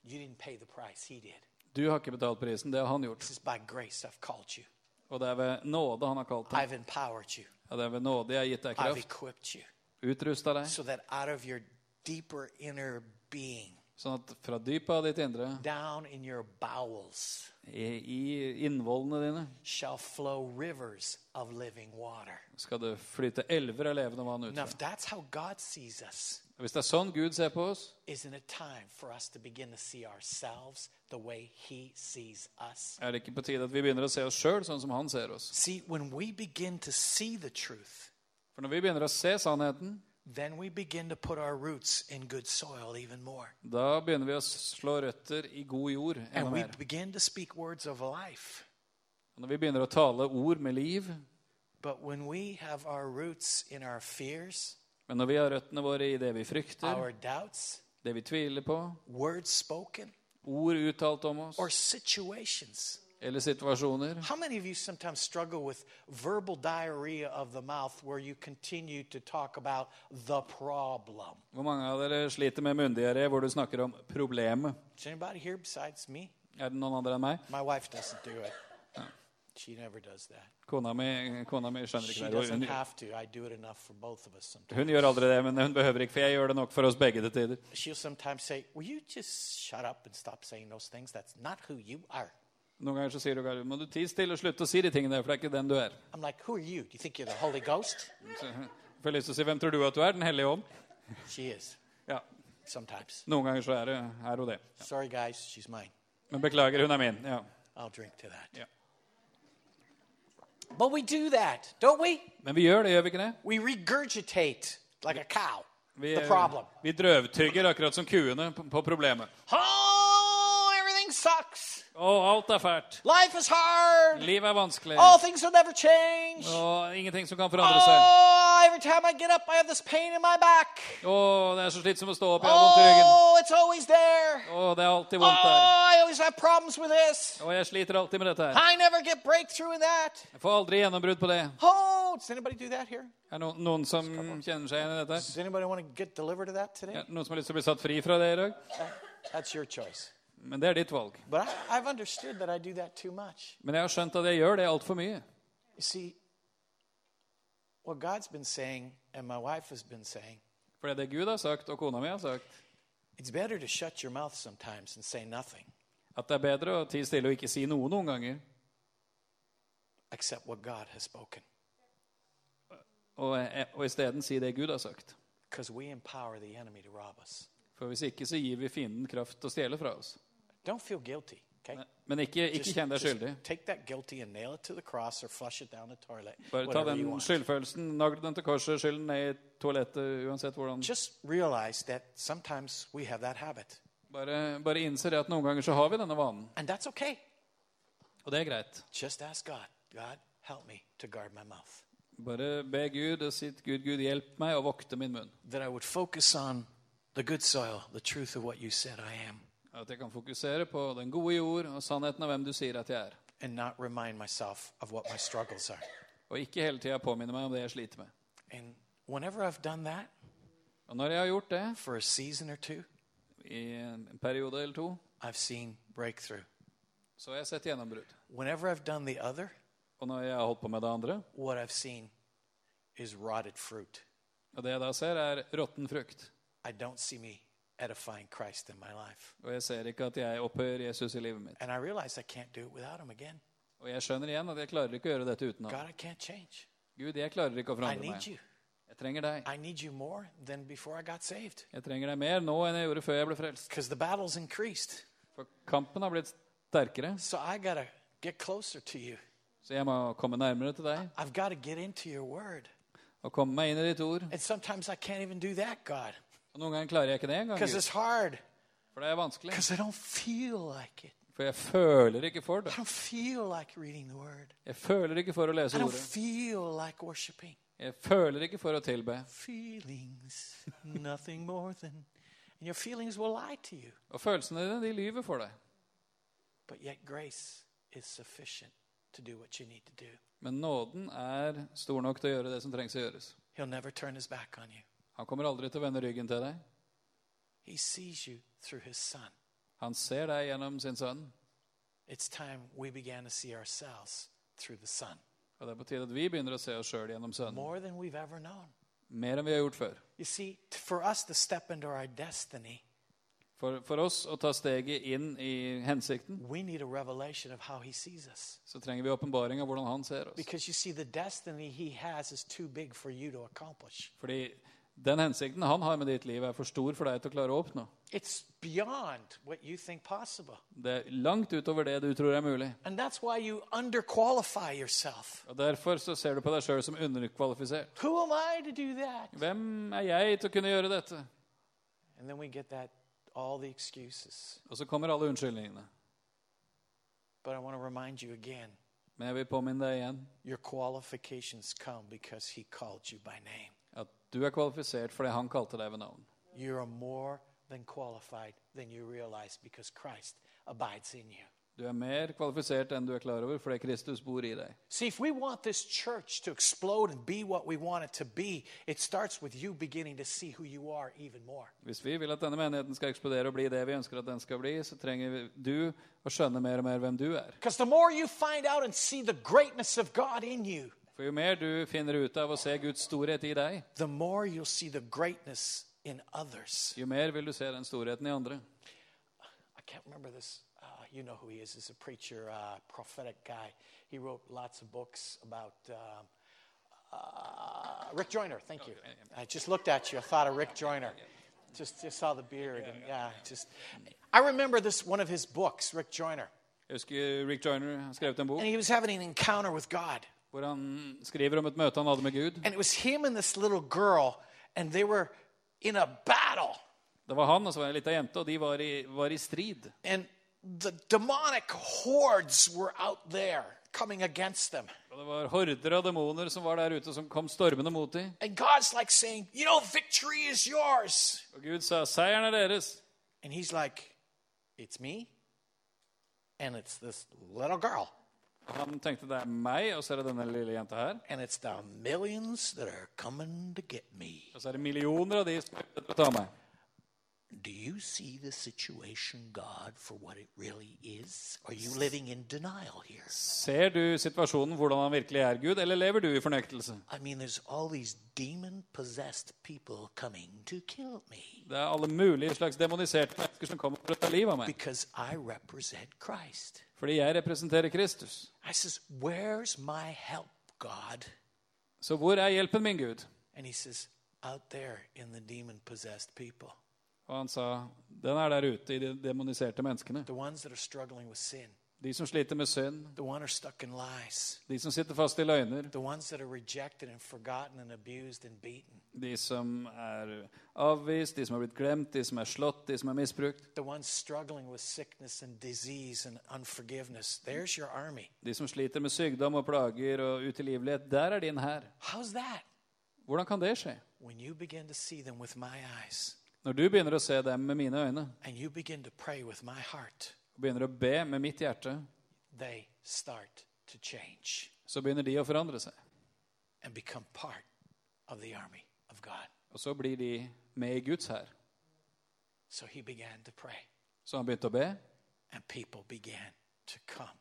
S2: You didn't pay the price, He did.
S3: Du har ikke betalt prisen, det har han gjort.
S2: This is by grace I've called you.
S3: Og det er ved nåde han har kalt deg.
S2: I've empowered you.
S3: Ja, det er ved nåde jeg har gitt deg
S2: I've
S3: kraft,
S2: equipped you
S3: utrusta deg,
S2: so that out of your deeper inner being,
S3: sånn at fra dypet av ditt indre,
S2: down in your bowels,
S3: i, i innvollene dine,
S2: shall flow rivers of living water.
S3: skal det flyte elver av levende vann ut.
S2: Now,
S3: fra.
S2: if that's how God sees us,
S3: Hvis det er sånn Gud ser på oss,
S2: isn't it time for us to begin to see ourselves the way He sees us?
S3: er det ikke på tide at vi begynner å se oss sjøl sånn som han ser oss.
S2: See, when we begin to see the truth,
S3: For når vi begynner å se sannheten,
S2: then we begin to put our roots in good soil even more.
S3: Da begynner vi å slå røtter i god jord enda
S2: And we
S3: mer.
S2: begin to speak words of life.
S3: Og Når vi begynner å tale ord med liv,
S2: But when we have our roots in our fears,
S3: men når vi har røttene våre i det vi frykter,
S2: our doubts,
S3: det vi tviler på,
S2: words spoken,
S3: ord uttalt om
S2: or
S3: oss
S2: situations.
S3: eller situasjoner
S2: How many of you sometimes struggle with verbal diarrhea of the mouth where you continue to talk about the problem?
S3: Hvor mange av dere sliter med munndiaré hvor du snakker om problemet?
S2: Is anybody here besides me?
S3: Er det noen andre enn meg?
S2: My wife doesn't do it. She never does that.
S3: Kona mi, kona mi skjønner
S2: She
S3: ikke det.
S2: doesn't
S3: Hun,
S2: have to. I do it enough for both of us sometimes.
S3: hun gjør aldri det, men hun behøver ikke, for jeg gjør det nok for oss begge til tider.
S2: She'll sometimes say, Will you just shut up and stop saying those things? That's not who you are.
S3: Noen ganger så sier du Gary, må du tie stille og slutte å si de tingene der, for det er ikke den du er.
S2: I'm like, Who are you? Do you think you're the Holy Ghost?
S3: Så, jeg får lyst til å si, hvem tror du at du er? Den hellige ånd?
S2: She is
S3: Ja,
S2: sometimes.
S3: noen ganger så er, det- er hun det.
S2: Sorry, guys, she's mine.
S3: Men beklager, hun er min. Ja.
S2: I'll drink to that.
S3: Yeah.
S2: But we do that, don't we?
S3: Men vi gjør det, gjør vi ikke det?
S2: We regurgitate like a cow
S3: Vi,
S2: the problem.
S3: vi drøvtygger akkurat som kuene på, på problemet.
S2: Oh, everything sucks.
S3: Å, alt er fælt.
S2: Life is hard.
S3: Livet er vanskelig.
S2: All things will never change.
S3: Og ingenting som kan forandre seg.
S2: Oh, every time I get up, I have this pain in my back.
S3: Å, det er så slitsomt å stå opp. Jeg har vondt i ryggen.
S2: Oh, it's always there.
S3: Å, det er alltid
S2: Oh,
S3: vondt her.
S2: I always have problems with this.
S3: Og jeg sliter alltid med dette her.
S2: I never get breakthrough in that.
S3: Jeg får aldri gjennombrudd på det.
S2: Oh, does anybody do that here?
S3: Er det noen, noen som kjenner seg igjen i dette?
S2: Does anybody want to get delivered of that today?
S3: Ja, noen som har lyst til å bli satt fri fra det i dag?
S2: That's your choice.
S3: Men det er ditt valg.
S2: But I, I've understood that I do that too much.
S3: Men jeg har skjønt at jeg gjør det altfor mye.
S2: You see, what God's been saying, and my wife has been saying,
S3: For det er det Gud har sagt, og kona mi har sagt,
S2: it's better to shut your mouth sometimes and say nothing
S3: at det er bedre å tie stille og ikke si noe noen ganger,
S2: except what God has spoken.
S3: og, og isteden si det Gud har sagt.
S2: Because we empower the enemy to rob us.
S3: For hvis ikke, så gir vi fienden kraft til å stjele fra oss.
S2: Don't feel guilty, okay?
S3: Men ikke, ikke
S2: Just-
S3: kjenn deg
S2: just
S3: skyldig.
S2: Take that guilty and nail it to the cross or flush it down the toilet.
S3: Bare ta
S2: whatever
S3: den
S2: you want.
S3: skyldfølelsen, nagl den til korset, skyll den ned i toalettet, uansett hvordan.
S2: Just realize that sometimes we have that habit,
S3: Bare, bare innse det at noen ganger så har vi denne vanen,
S2: and that's okay.
S3: og det er greit.
S2: Just ask God, God, help me to guard my mouth,
S3: Bare be Gud og si Gud, Gud, hjelp meg å vokte min munn.
S2: that I would focus on the good soil, the truth of what you said I am,
S3: At jeg kan fokusere på den gode jord og sannheten av hvem du sier at jeg er.
S2: and not remind myself of what my struggles are.
S3: Og ikke hele tida påminne meg om det jeg sliter med.
S2: And whenever I've done that
S3: Og når jeg har gjort det,
S2: for a season or two,
S3: i en periode eller to,
S2: I've seen breakthrough.
S3: så har jeg sett gjennombrudd.
S2: Whenever I've done the other,
S3: Og når jeg har holdt på med det andre,
S2: what I've seen is rotted fruit.
S3: og det jeg da ser, er råtten frukt.
S2: I don't see me edifying Christ in my life.
S3: Og jeg ser ikke at jeg opphøyer Jesus i livet mitt.
S2: And I realize I can't do it without him again.
S3: Og jeg skjønner igjen at jeg klarer ikke å gjøre dette uten ham.
S2: God, I can't change.
S3: Gud, jeg klarer ikke å
S2: I
S3: forandre
S2: need
S3: meg.
S2: you.
S3: Jeg trenger deg.
S2: I need you more than before I got saved
S3: Jeg trenger deg mer nå enn jeg gjorde før jeg ble frelst.
S2: because the battle's increased.
S3: For kampen har blitt sterkere,
S2: So I got to get closer to you.
S3: så jeg må komme nærmere til deg
S2: I've got to get into your word.
S3: og komme meg inn i ditt ord.
S2: And sometimes I can't even do that, God,
S3: Og noen ganger klarer jeg ikke det engang,
S2: because
S3: Gud,
S2: it's hard,
S3: for det er vanskelig.
S2: because I don't feel like it.
S3: For jeg føler ikke for det.
S2: I don't feel like reading the word.
S3: Jeg føler ikke for å
S2: I
S3: lese
S2: don't
S3: ordet.
S2: feel like worshiping.
S3: Jeg føler ikke for å tilbe.
S2: Feelings, nothing more than. And your feelings will lie to you.
S3: Og følelsene dine, de lyver for deg.
S2: But yet, grace is sufficient to do what you need to do.
S3: Men nåden er stor nok til å gjøre det som trengs å gjøres.
S2: He'll never turn his back on you.
S3: Han kommer aldri til å vende ryggen til deg.
S2: He sees you through his son.
S3: Han ser deg gjennom sin sønn.
S2: It's time we began to see ourselves through the son
S3: Og det er på tide at vi begynner å se oss sjøl gjennom sønnen.
S2: more than we've ever known.
S3: Mer enn vi har gjort før.
S2: You see, t- for us to step into our destiny,
S3: For, for oss å ta steget inn i hensikten,
S2: we need a revelation of how he sees us.
S3: så trenger vi åpenbaring av hvordan han ser oss.
S2: Because you see, the destiny he has is too big for you to accomplish.
S3: Fordi Den hensikten han har med ditt liv, er for stor for deg til å klare å oppnå.
S2: It's beyond what you think possible.
S3: Det er langt utover det du tror er mulig.
S2: And that's why you underqualify yourself.
S3: Og Derfor så ser du på deg sjøl som underkvalifisert.
S2: Who am I to do that?
S3: Hvem er jeg til å kunne gjøre dette?
S2: And then we get that all the excuses.
S3: Og så kommer alle unnskyldningene.
S2: But I want to remind you again
S3: Men jeg vil påminne deg igjen
S2: your qualifications come because he called you by name.
S3: at du er kvalifisert fordi han kalte deg ved navn.
S2: You are more than qualified than you realize because Christ abides in you.
S3: Du er mer kvalifisert enn du er klar over fordi Kristus bor i deg.
S2: See, if we want this church to explode and be what we want it to be, it starts with you beginning to see who you are even more.
S3: Hvis vi vil at denne menigheten skal eksplodere og bli det vi ønsker at den skal bli, så trenger vi- du å skjønne mer og mer hvem du er.
S2: Because the more you find out and see the greatness of God in you,
S3: For jo mer du finner ut av å se Guds storhet i deg,
S2: the more you'll see the greatness in others.
S3: jo mer vil du se den storheten i andre.
S2: I can't remember this. Uh, you know who he is. He's a preacher, uh, prophetic guy. He wrote lots of books about um, uh, Rick Joyner. Thank you. I just looked at you. I thought of Rick Joyner. Just, just saw the beard. And, yeah, just. I remember this one of his books, Rick Joyner,
S3: Jeg husker Rick Joyner har skrevet en bok
S2: and he was having an encounter with God.
S3: hvor han skriver om et møte han hadde med Gud.
S2: And it was him and this little girl, and they were in a battle.
S3: Det var han og så var det ei lita jente, og de var i, var i strid.
S2: And the demonic hordes were out there coming against them.
S3: Og det var horder av demoner som var der ute, som kom stormende mot dem.
S2: And God's like saying, You know, victory is yours.
S3: Og Gud sa, 'Seieren er deres'.
S2: And he's like, It's me, and it's this little girl,
S3: Og han tenkte, 'Det er meg', og så er det denne lille jenta her.
S2: and it's the millions that are coming to get me.
S3: Og så er det millioner av de som er ute etter å ta meg.
S2: Do you see the situation, God, for what it really is? Are you living in denial here?
S3: Ser du situasjonen, hvordan han virkelig er, Gud, eller lever du i fornektelse?
S2: I mean, there's all these demon possessed people coming to kill me
S3: Det er alle mulige slags demoniserte mennesker som kommer for å ta livet av meg.
S2: because I represent Christ.
S3: Fordi jeg representerer Kristus.
S2: I says, Where's my help, God?
S3: Så hvor er hjelpen min, Gud?
S2: And he says, Out there in the demon possessed people,
S3: Og han sa, 'Den er der ute i de demoniserte menneskene'.
S2: the ones that are struggling with sin,
S3: De som sliter med synd,
S2: the ones that are stuck in lies,
S3: de som sitter fast i løgner,
S2: the ones that are rejected and forgotten and abused and beaten,
S3: de som er avvist, de som har blitt glemt, de som er slått, de som er misbrukt.
S2: the ones struggling with sickness and disease and unforgiveness. There's your army.
S3: De som sliter med sykdom og plager og utilgivelighet. Der er din hær.
S2: How's that?
S3: Hvordan kan det skje?
S2: When you begin to see them with my eyes
S3: Når du begynner å se dem med mine øyne,
S2: and you begin to pray with my heart,
S3: og begynner å be med mitt hjerte,
S2: they start to change
S3: så begynner de å forandre seg.
S2: and become part of the army of God.
S3: Og så blir de med i Guds hær.
S2: So he began to pray,
S3: Så han begynte å be,
S2: and people began to come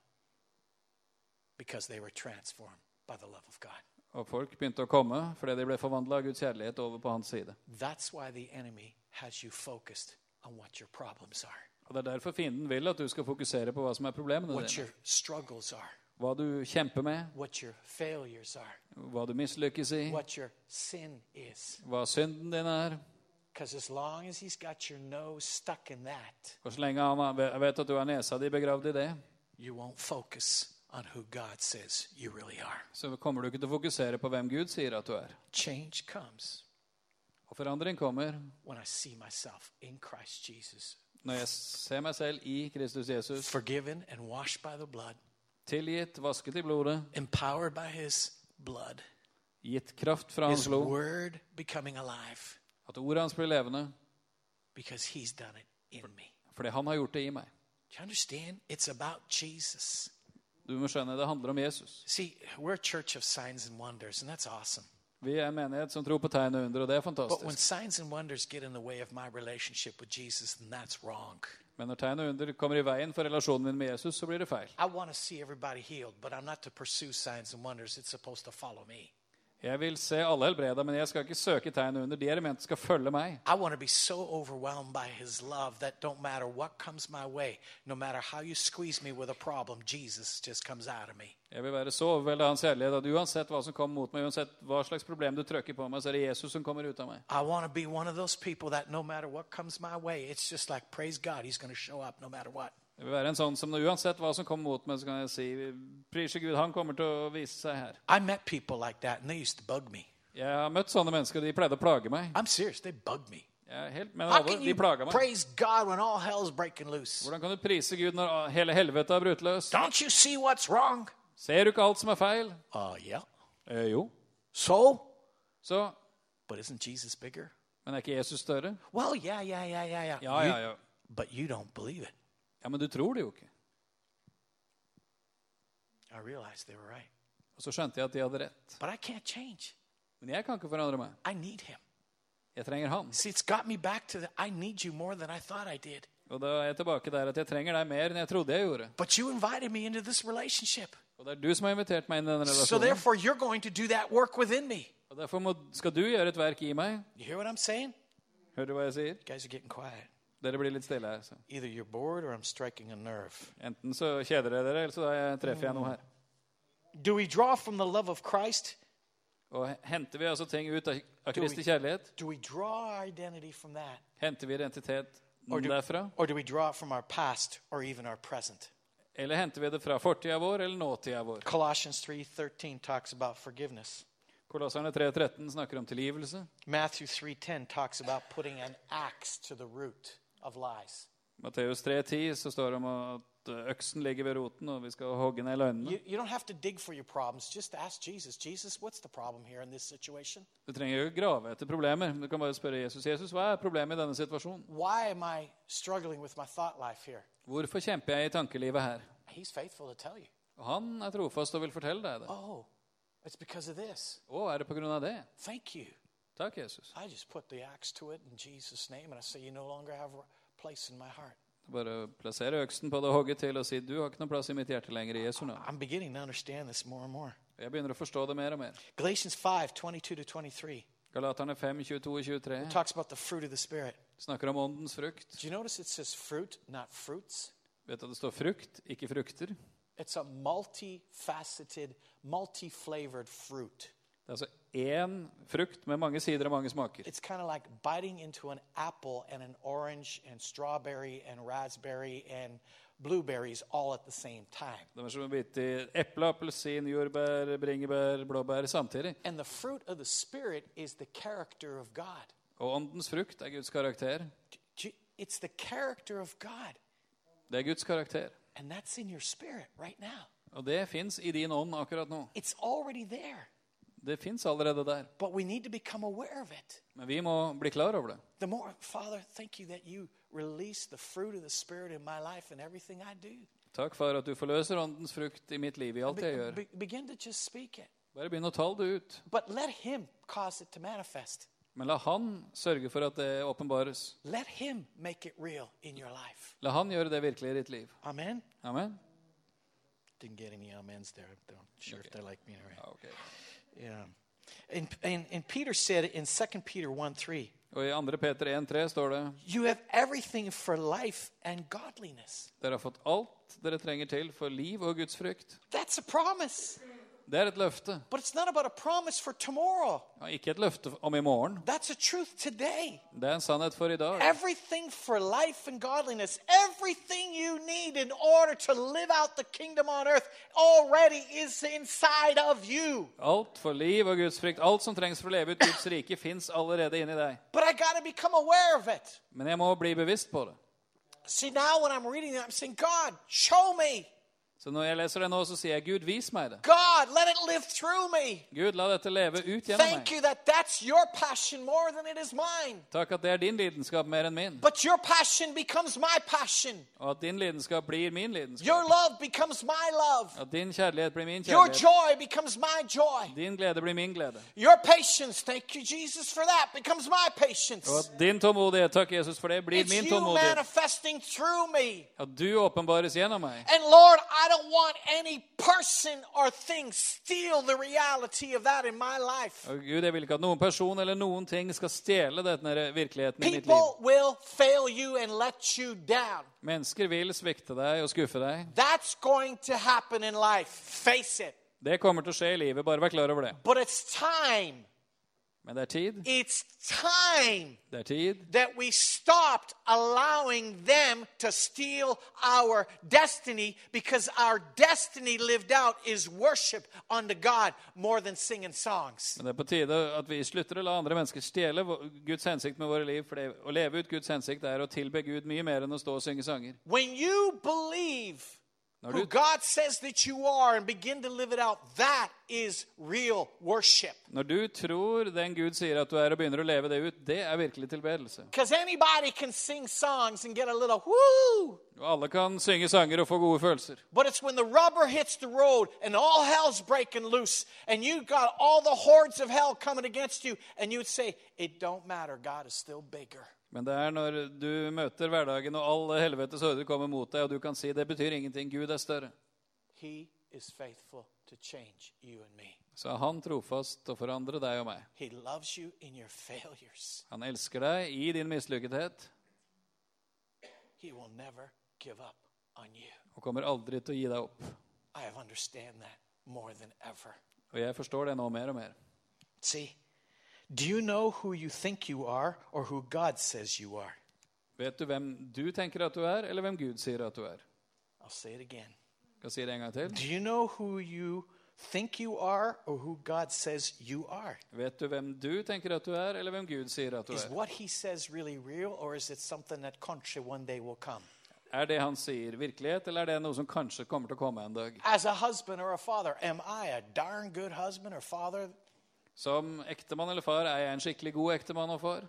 S2: because they were transformed by the love of God.
S3: og folk begynte å komme fordi de ble forvandla av Guds kjærlighet over på hans side.
S2: That's why the enemy has you focused on what your problems are,
S3: Og Det er derfor fienden vil at du skal fokusere på hva som er problemene
S2: what
S3: dine.
S2: your struggles are,
S3: Hva du kjemper med,
S2: what your failures are,
S3: hva du mislykkes i,
S2: what your sin is.
S3: hva synden din er.
S2: Because as long as he's got your nose stuck in that,
S3: Og så lenge han har- vet at du har nesa di begravd i det,
S2: you won't focus on who God says you really are.
S3: så kommer du ikke til å fokusere på hvem Gud sier at du er.
S2: Change comes
S3: Og forandring kommer
S2: when I see myself in Christ Jesus,
S3: når jeg ser meg selv i Kristus Jesus,
S2: forgiven and washed by the blood.
S3: tilgitt, vasket i blodet,
S2: empowered by his blood,
S3: gitt kraft fra hans
S2: his
S3: blod,
S2: word becoming alive
S3: at ordet hans blir levende,
S2: because he's done it in me.
S3: fordi han har gjort det i meg.
S2: Do you understand? It's about Jesus.
S3: Du må skjønne, det handler om Jesus.
S2: See, we're a church of signs and wonders, and that's awesome.
S3: Vi er en menighet som tror på tegn og under, og det er
S2: But when
S3: fantastisk.
S2: signs and wonders get in the way of my relationship with Jesus, then that's wrong.
S3: Men når tegn og under kommer i veien for relasjonen min med Jesus, så blir det feil.
S2: I want to see everybody healed, but I'm not to pursue signs and wonders. It's supposed to follow me.
S3: Jeg vil se alle helbreda, men jeg skal ikke søke tegn under. De elementene skal følge meg.
S2: I want to be so overwhelmed by his love that don't matter what comes my way, no matter how you squeeze me with a problem, Jesus just comes out of me.
S3: Jeg vil være så overveldet av hans kjærlighet at uansett hva som kommer mot meg, uansett hva slags problem du trøkker på meg, så er det Jesus som kommer ut av meg.
S2: I want to be one of those people that no matter what comes my way, it's just like, praise God, he's going to show up no matter what.
S3: Jeg vil være en sånn som uansett hva som kommer mot meg, så kan jeg si Prise Gud, han kommer til å vise seg her.
S2: I met people like that, and they used to bug me.
S3: Jeg har møtt sånne mennesker, og de pleide å plage meg.
S2: I'm serious, they bug me.
S3: Jeg er helt med
S2: How
S3: alle,
S2: can
S3: de
S2: you
S3: plaga meg.
S2: praise God when all hell's breaking loose?
S3: Hvordan kan du prise Gud når ah, hele helvete er brutt løs?
S2: Don't you see what's wrong?
S3: Ser du ikke alt som er feil?
S2: Uh, yeah.
S3: Eh, jo.
S2: So?
S3: Så,
S2: But isn't Jesus bigger?
S3: men er ikke Jesus større?
S2: Well, yeah, yeah, yeah, yeah, yeah.
S3: Ja,
S2: You-
S3: ja, ja.
S2: But you don't believe it.
S3: Ja, men du tror det jo ikke.
S2: I realized they were right.
S3: Og så skjønte jeg at de hadde rett.
S2: But I can't change.
S3: Men jeg kan ikke forandre meg.
S2: I need him.
S3: Jeg trenger han.
S2: See, it's got me back to the I need you more than I thought I did.
S3: Og da er jeg tilbake der at jeg trenger deg mer enn jeg trodde jeg gjorde.
S2: But you invited me into this relationship.
S3: Og det er du som har invitert meg inn i denne
S2: So
S3: relasjonen.
S2: therefore, you're going to do that work within me.
S3: Og derfor må, skal du gjøre et verk i meg.
S2: You hear what I'm saying?
S3: Hører du hva jeg sier?
S2: You guys are getting quiet.
S3: Dere blir litt stille her. Så.
S2: Either you're bored or I'm striking a nerve.
S3: Enten så kjeder dere dere, eller så eh, treffer jeg noe her.
S2: Do we draw from the love of Christ?
S3: Og he- henter vi altså ting ut av, av Kristi kjærlighet?
S2: Do we draw our identity from that?
S3: Henter vi identitet
S2: Or do,
S3: derfra?
S2: or do we draw it from our past or even our present?
S3: Eller henter vi det fra fortida vår eller nåtida vår?
S2: Colossians 3:13 talks about forgiveness.
S3: Kolosserne 3.13 snakker om tilgivelse.
S2: Matthew 3:10 talks about putting an axe to the root of lies.
S3: Matteus 3.10 så står det om at eh, øksen ligger ved roten, og vi skal hogge ned løgnene.
S2: You, you don't have to dig for your problems. Just ask Jesus. Jesus, what's the problem here in this situation?
S3: Du trenger jo ikke grave etter problemer. men Du kan bare spørre Jesus. Jesus, hva er problemet i denne situasjonen?
S2: Why am I struggling with my thought life here?
S3: Hvorfor kjemper jeg i tankelivet her?
S2: He's faithful to tell you.
S3: Og han er trofast og vil fortelle deg det.
S2: Oh, it's because of this.
S3: Å, er det på grunn av det?
S2: Thank you.
S3: Takk, Jesus.
S2: I just put the axe to it in Jesus' name, and I say, You no longer have a place in my heart.
S3: Bare plassere øksen på det og hogge til og si du har ikke noen plass i mitt hjerte lenger i Jesu navn.
S2: I'm beginning to understand this more and more.
S3: Jeg begynner å forstå det mer og mer.
S2: Galatians 5 22 to 23
S3: Galaterne 5, 22 og 23
S2: talks about the fruit of the Spirit.
S3: snakker om åndens frukt.
S2: Do you notice it says fruit, not fruits?
S3: Vet du at det står frukt, ikke frukter? Det
S2: It's a multifaceted, multi flavored fruit.
S3: er altså én frukt med mange sider og mange smaker.
S2: It's kind of like biting into an apple and an orange and strawberry and raspberry and blueberries all at the same time.
S3: Det er som å bite i eple, appelsin, jordbær, bringebær, blåbær samtidig.
S2: And the fruit of the Spirit is the character of God.
S3: Og åndens frukt er Guds karakter.
S2: J- It's the character of God.
S3: Det er Guds karakter.
S2: And that's in your spirit right now.
S3: Og det fins i din ånd akkurat nå.
S2: It's already there,
S3: Det fins allerede der.
S2: but we need to become aware of it.
S3: Men vi må bli klar over det.
S2: The more, Father, thank you that you release the fruit of the Spirit in my life and everything I do.
S3: Takk for at du forløser åndens frukt i mitt liv, i alt
S2: Be-
S3: jeg gjør.
S2: be- begin to just speak it.
S3: Bare begynn å tale det ut.
S2: But let Him cause it to manifest.
S3: Men la han sørge for at det åpenbares.
S2: Let Him make it real in your life.
S3: La han gjøre det virkelig i ditt liv.
S2: Amen.
S3: Amen?
S2: Didn't get any amens there. I'm not sure if they like me or
S3: Ja, ok.
S2: Yeah. And, and, and Peter said in 2 Peter 1 3,
S3: Og i 2. Peter 1,3 står det
S2: you have everything for life and godliness.
S3: Dere har fått alt dere trenger til for liv og Guds frykt.
S2: That's a promise.
S3: Det er et løfte.
S2: But it's not about a promise for tomorrow.
S3: Ja, ikke et løfte om i morgen.
S2: That's a truth today.
S3: Det er en sannhet for i dag.
S2: Everything for life and godliness, everything you need in order to live out the kingdom on earth already is inside of you.
S3: Alt for liv og Guds frykt, alt som trengs for å leve ut Guds rike, fins allerede inni deg.
S2: But I got to become aware of it.
S3: Men jeg må bli bevisst på det.
S2: See, now when I'm reading it, I'm saying, God, show me.
S3: Så når jeg leser det nå, så sier jeg, Gud, vis meg det.
S2: God, let it live through me.
S3: Gud, la dette leve ut gjennom
S2: Thank
S3: meg.
S2: you that that's your passion more than it is mine.
S3: Takk at det er din lidenskap mer enn min.
S2: But your passion becomes my passion.
S3: Og at din lidenskap blir min
S2: Your
S3: lidenskap.
S2: love becomes my love.
S3: At din kjærlighet blir min
S2: Your
S3: kjærlighet.
S2: joy becomes my joy.
S3: Din glede blir min glede.
S2: Your patience, thank you, Jesus, for that, becomes my
S3: Og
S2: patience.
S3: at din tålmodighet, takk Jesus for det, blir
S2: It's
S3: min
S2: you
S3: tålmodighet.
S2: manifesting through me.
S3: At du åpenbares gjennom meg.
S2: And Lord, I don't want any person or thing steal the reality of that in my life.
S3: Og Gud, jeg vil ikke at noen person eller noen ting skal stjele denne virkeligheten i mitt liv.
S2: People will fail you and let you down.
S3: Mennesker vil svikte deg og skuffe deg.
S2: That's going to happen in life. Face it.
S3: Det kommer til å skje i livet, bare vær klar over det.
S2: But it's time.
S3: Men det er tid.
S2: It's time
S3: Det er tid.
S2: that we stopped allowing them to steal our destiny because our destiny lived out is worship unto God more than singing songs.
S3: Men det er på tide at vi slutter å la andre mennesker stjele vå- Guds hensikt med våre liv. For det, å leve ut Guds hensikt er å tilbe Gud mye mer enn å stå og synge sanger.
S2: When you believe
S3: Når
S2: who
S3: du,
S2: God says that you are and begin to live it out, that is real worship.
S3: når du tror den Gud sier at du er, og begynner å leve det ut, det er virkelig tilbedelse.
S2: Because anybody can sing songs and get a little whoo,
S3: Og alle kan synge sanger og få gode følelser.
S2: But it's when the rubber hits the road and all hell's breaking loose and you got all the hordes of hell coming against you and you'd say, It don't matter, God is still bigger.
S3: Men det er når du møter hverdagen og alle helvetes horder kommer mot deg, og du kan si det betyr ingenting, Gud er større.
S2: He is faithful to change you and me.
S3: Så er Han trofast til å forandre deg og meg.
S2: He loves you in your failures.
S3: Han elsker deg i din mislykkethet
S2: He will never give up on you.
S3: og kommer aldri til å gi deg opp.
S2: I have understand that more than ever.
S3: Og jeg forstår det nå mer og mer.
S2: See, do you know who you think you are or who God says you are?
S3: Vet du hvem du tenker at du er, eller hvem Gud sier at du er?
S2: I'll say it again.
S3: Jeg kan si det en gang til.
S2: Do you know who you think you are or who God says you are?
S3: Vet du hvem du tenker at du er, eller hvem Gud sier at du
S2: Is
S3: er?
S2: what he says really real, or is it something that contra one day will come?
S3: Er det han sier, virkelighet, eller er det noe som kanskje kommer til å komme en dag?
S2: As a husband or a father, am I a darn good husband or father?
S3: Som ektemann eller far, er jeg en skikkelig god ektemann og far?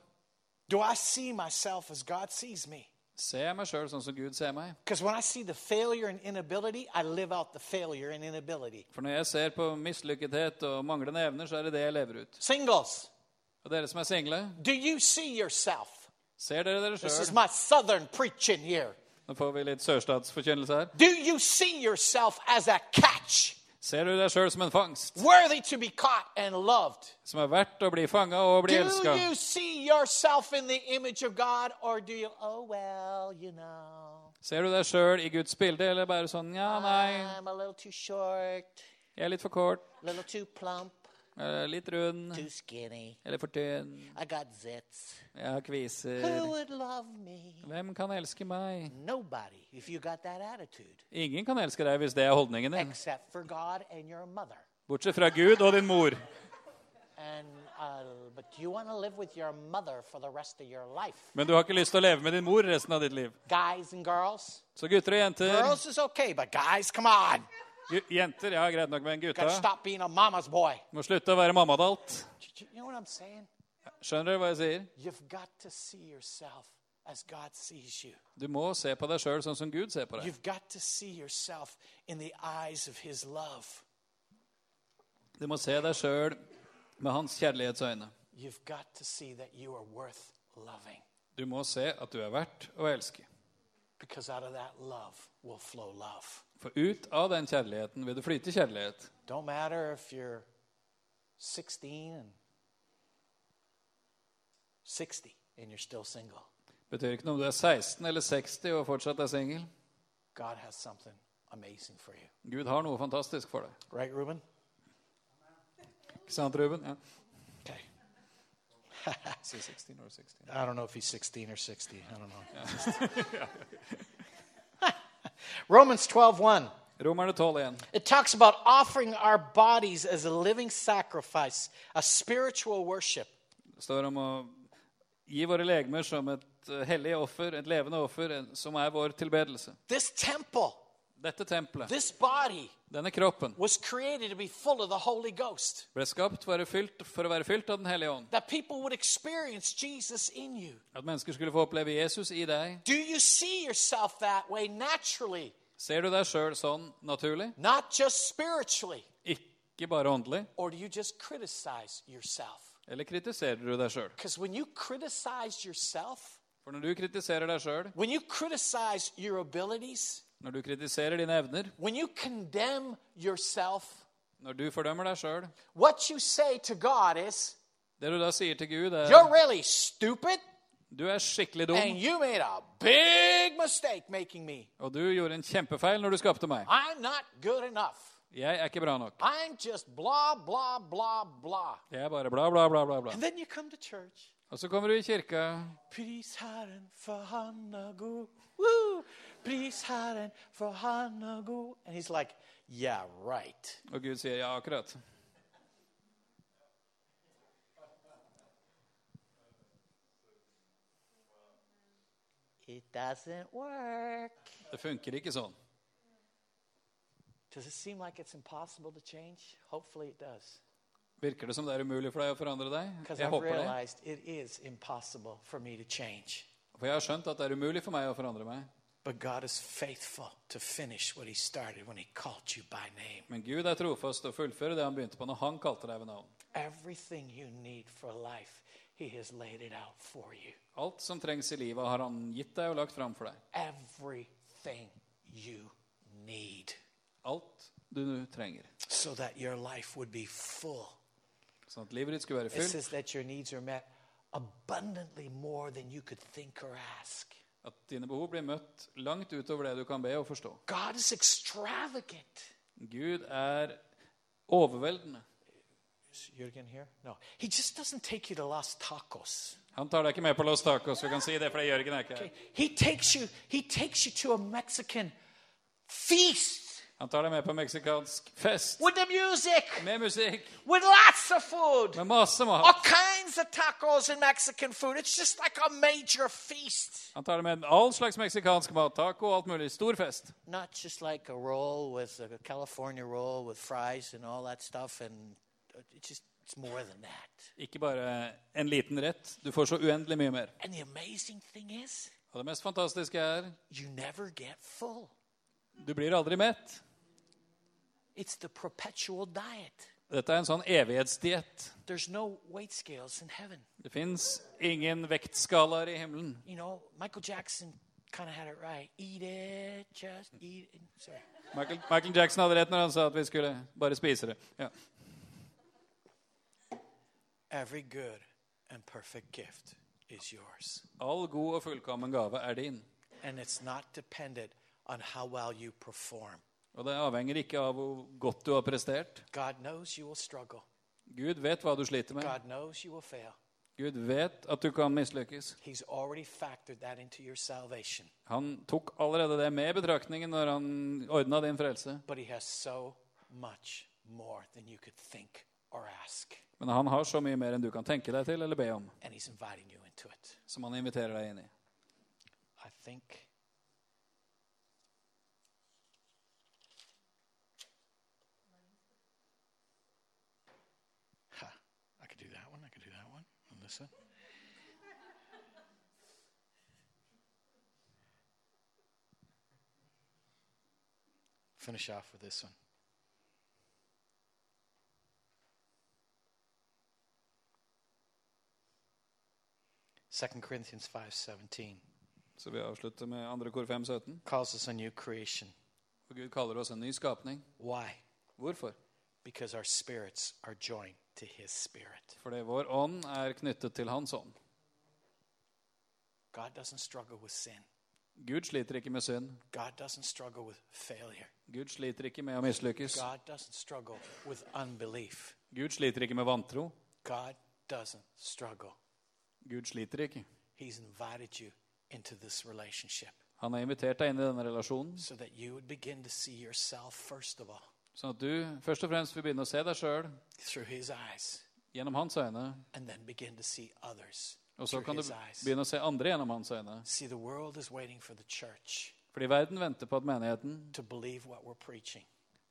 S2: Do I see myself as God sees me?
S3: Ser jeg meg sjøl sånn som Gud ser meg?
S2: Because when I see the failure and inability, I live out the failure and inability.
S3: For når jeg ser på mislykkethet og manglende evner, så er det det jeg lever ut.
S2: Singles,
S3: Og dere som er single,
S2: do you see yourself?
S3: ser dere dere
S2: This is
S3: sjøl?
S2: my southern preaching here.
S3: Nå får vi litt sørstatsforkynnelse her.
S2: Do you see yourself as a catch,
S3: Ser du deg sjøl som en fangst,
S2: worthy to be caught and loved?
S3: som er verdt å bli fanga og bli
S2: Do
S3: elska?
S2: you see yourself in the image of God, or do you, oh, well, you know,
S3: Ser du deg sjøl i Guds bilde, eller bare sånn ja, nei,
S2: I'm a little too short,
S3: jeg er litt for kort,
S2: a little too plump,
S3: eller litt rund,
S2: too skinny,
S3: eller for tynn,
S2: I got zits.
S3: jeg har
S2: Who
S3: kviser
S2: would love me?
S3: Hvem kan elske meg?
S2: Nobody, if you got that attitude,
S3: Ingen kan elske deg hvis det er holdningen din.
S2: except for God and your mother.
S3: Bortsett fra Gud og din mor.
S2: And, uh, but you want to live with your mother for the rest of your life.
S3: Men du har ikke lyst til å leve med din mor resten av ditt liv.
S2: Guys and girls.
S3: Så gutter og jenter
S2: Girls is okay, but guys, come on.
S3: Gu- Jenter, ja, greit nok, men
S2: Gotta
S3: gutta
S2: stop being a mama's boy.
S3: må slutte å være mammadalt.
S2: You know what I'm saying?
S3: Skjønner dere hva jeg sier?
S2: You've got to see yourself as God sees you.
S3: Du må se på deg sjøl sånn som Gud ser på deg.
S2: You've got to see yourself in the eyes of His love.
S3: Du må se deg sjøl med hans kjærlighetsøyne.
S2: You've got to see that you are worth loving
S3: Du må se at du er verdt å elske.
S2: because out of that love will flow love.
S3: For ut av den kjærligheten vil det flyte kjærlighet.
S2: Don't matter if you're 16 and 60 and you're still single,
S3: Betyr ikke noe om du er 16 eller 60 og fortsatt er singel.
S2: God has something amazing for you.
S3: Gud har noe fantastisk for deg.
S2: Right, Reuben?
S3: Ikke sant, Ruben? Ja.
S2: Okay.
S3: Si 16 or 16.
S2: I don't know if he's 16 or 60. I don't know. Romans 12:1.
S3: Romerne 12 igjen.
S2: It talks about offering our bodies as a living sacrifice, a spiritual worship.
S3: Det står om å gi våre legemer som et eh, hellig offer, et levende offer, en- som er vår tilbedelse.
S2: This temple,
S3: Dette tempelet,
S2: this body
S3: denne kroppen,
S2: was created to be full of the Holy Ghost.
S3: ble skapt for å, være fylt, for å være fylt av Den hellige ånd.
S2: That people would experience Jesus in you.
S3: At mennesker skulle få oppleve Jesus i deg.
S2: Do you see yourself that way naturally,
S3: Ser du deg sjøl sånn naturlig?
S2: not just spiritually,
S3: Ikke bare åndelig?
S2: or do you just criticize yourself?
S3: Eller kritiserer du deg sjøl?
S2: Cuz when you criticize yourself,
S3: For når du kritiserer deg sjøl,
S2: when you criticize your abilities,
S3: Når du kritiserer dine evner,
S4: when you condemn yourself,
S3: når du fordømmer deg sjøl
S4: what you say to God is,
S3: Det du da sier til Gud, er
S4: You're really stupid,
S3: du er skikkelig
S4: and
S3: dum,
S4: you made a big mistake making me.
S3: og du gjorde en kjempefeil når du skapte meg.
S4: I'm not good enough.
S3: Jeg er ikke bra nok.
S4: I'm just blah, blah, blah, blah.
S3: Jeg er bare bla, bla, bla, bla. bla.
S4: And then you come to church.
S3: Og så kommer du i kirka.
S4: Pris Herren, for han er god. Woo! Pris Herren, for han er god. And he's like, yeah, right.
S3: Og Gud sier ja, akkurat.
S4: It doesn't work.
S3: Det funker ikke sånn.
S4: Does it seem like it's impossible to change? Hopefully it does.
S3: Virker det som det er umulig for deg å forandre deg?
S4: Because
S3: Jeg
S4: I've
S3: håper det.
S4: realized it is impossible for me to change.
S3: For jeg har skjønt at det er umulig for meg å forandre meg.
S4: But God is faithful to finish what He started when He called you by name.
S3: Men Gud er trofast og fullfører det han begynte på når han kalte deg ved navn.
S4: Everything you need for life, He has laid it out for you.
S3: Alt som trengs i livet, har han gitt deg og lagt fram for deg.
S4: Everything you need
S3: Alt du trenger.
S4: so that your life would be full.
S3: Sånn at livet ditt skulle være
S4: It
S3: fullt.
S4: says that your needs are met abundantly more than you could think or ask.
S3: At dine behov blir møtt langt utover det du kan be og forstå.
S4: God is extravagant.
S3: Gud er overveldende.
S4: Is Jürgen here? No. He just doesn't take you to Los Tacos.
S3: Han tar deg ikke med på Los Tacos. Du kan si det, for det er Jørgen er ikke her.
S4: Okay. He takes you he takes you to a Mexican feast
S3: Han tar deg med på meksikansk fest
S4: with the music,
S3: med musikk,
S4: with lots of food.
S3: med masse
S4: All
S3: mat.
S4: kinds of tacos and Mexican food. It's just like a major feast.
S3: Han tar deg med all slags meksikansk mat, taco og alt mulig. Stor fest.
S4: Not just like a roll with a California roll with fries and all that stuff and it's just it's more than that.
S3: Ikke bare en liten rett. Du får så uendelig mye mer.
S4: And the amazing thing is
S3: Og det mest fantastiske er
S4: you never get full.
S3: du blir aldri mett.
S4: It's the perpetual diet.
S3: Dette er en sånn evighetsdiett.
S4: There's no weight scales in heaven.
S3: Det fins ingen vektskalaer i himmelen.
S4: You know, Michael Jackson kind of had it right. Eat it, just eat it. Sorry.
S3: Michael, Michael Jackson hadde rett når han sa at vi skulle bare spise det. Ja.
S4: Every good and perfect gift is yours.
S3: All god og fullkommen gave er din.
S4: and it's not dependent on how well you perform.
S3: Og det avhenger ikke av hvor godt du har prestert.
S4: God knows you will struggle.
S3: Gud vet hva du sliter med.
S4: God knows you will fail.
S3: Gud vet at du kan mislykkes.
S4: He's already factored that into your salvation,
S3: Han tok allerede det med i betraktningen når han ordna din frelse.
S4: but He has so much more than you could think or ask,
S3: Men han har så mye mer enn du kan tenke deg til eller be om,
S4: and He's inviting you into it.
S3: som han inviterer deg inn i.
S4: I think. Ha, I could do that one. I could do that one. And this one. Finish off with this one. Second Corinthians five seventeen
S3: Så vi avslutter med 2. kor 5, 17.
S4: calls us a new creation.
S3: Og Gud kaller oss en ny skapning.
S4: Why?
S3: Hvorfor?
S4: Because our spirits are joined to his spirit.
S3: Fordi vår ånd er knyttet til hans ånd.
S4: God doesn't struggle with sin.
S3: Gud sliter ikke med synd.
S4: God doesn't struggle with failure.
S3: Gud sliter ikke med å mislykkes.
S4: God doesn't struggle with unbelief.
S3: Gud sliter ikke med vantro.
S4: God doesn't struggle.
S3: Gud sliter ikke.
S4: He's invited you into this relationship
S3: Han har invitert deg inn i denne relasjonen,
S4: so that you would begin to see yourself, first of all,
S3: sånn at du først og fremst vil begynne å se deg sjøl
S4: through his eyes,
S3: gjennom hans øyne.
S4: and then begin to see others
S3: Og så
S4: through
S3: kan du
S4: his eyes.
S3: begynne å se andre gjennom hans øyne.
S4: See, the world is waiting for the church
S3: Fordi verden venter på at menigheten
S4: to believe what we're preaching,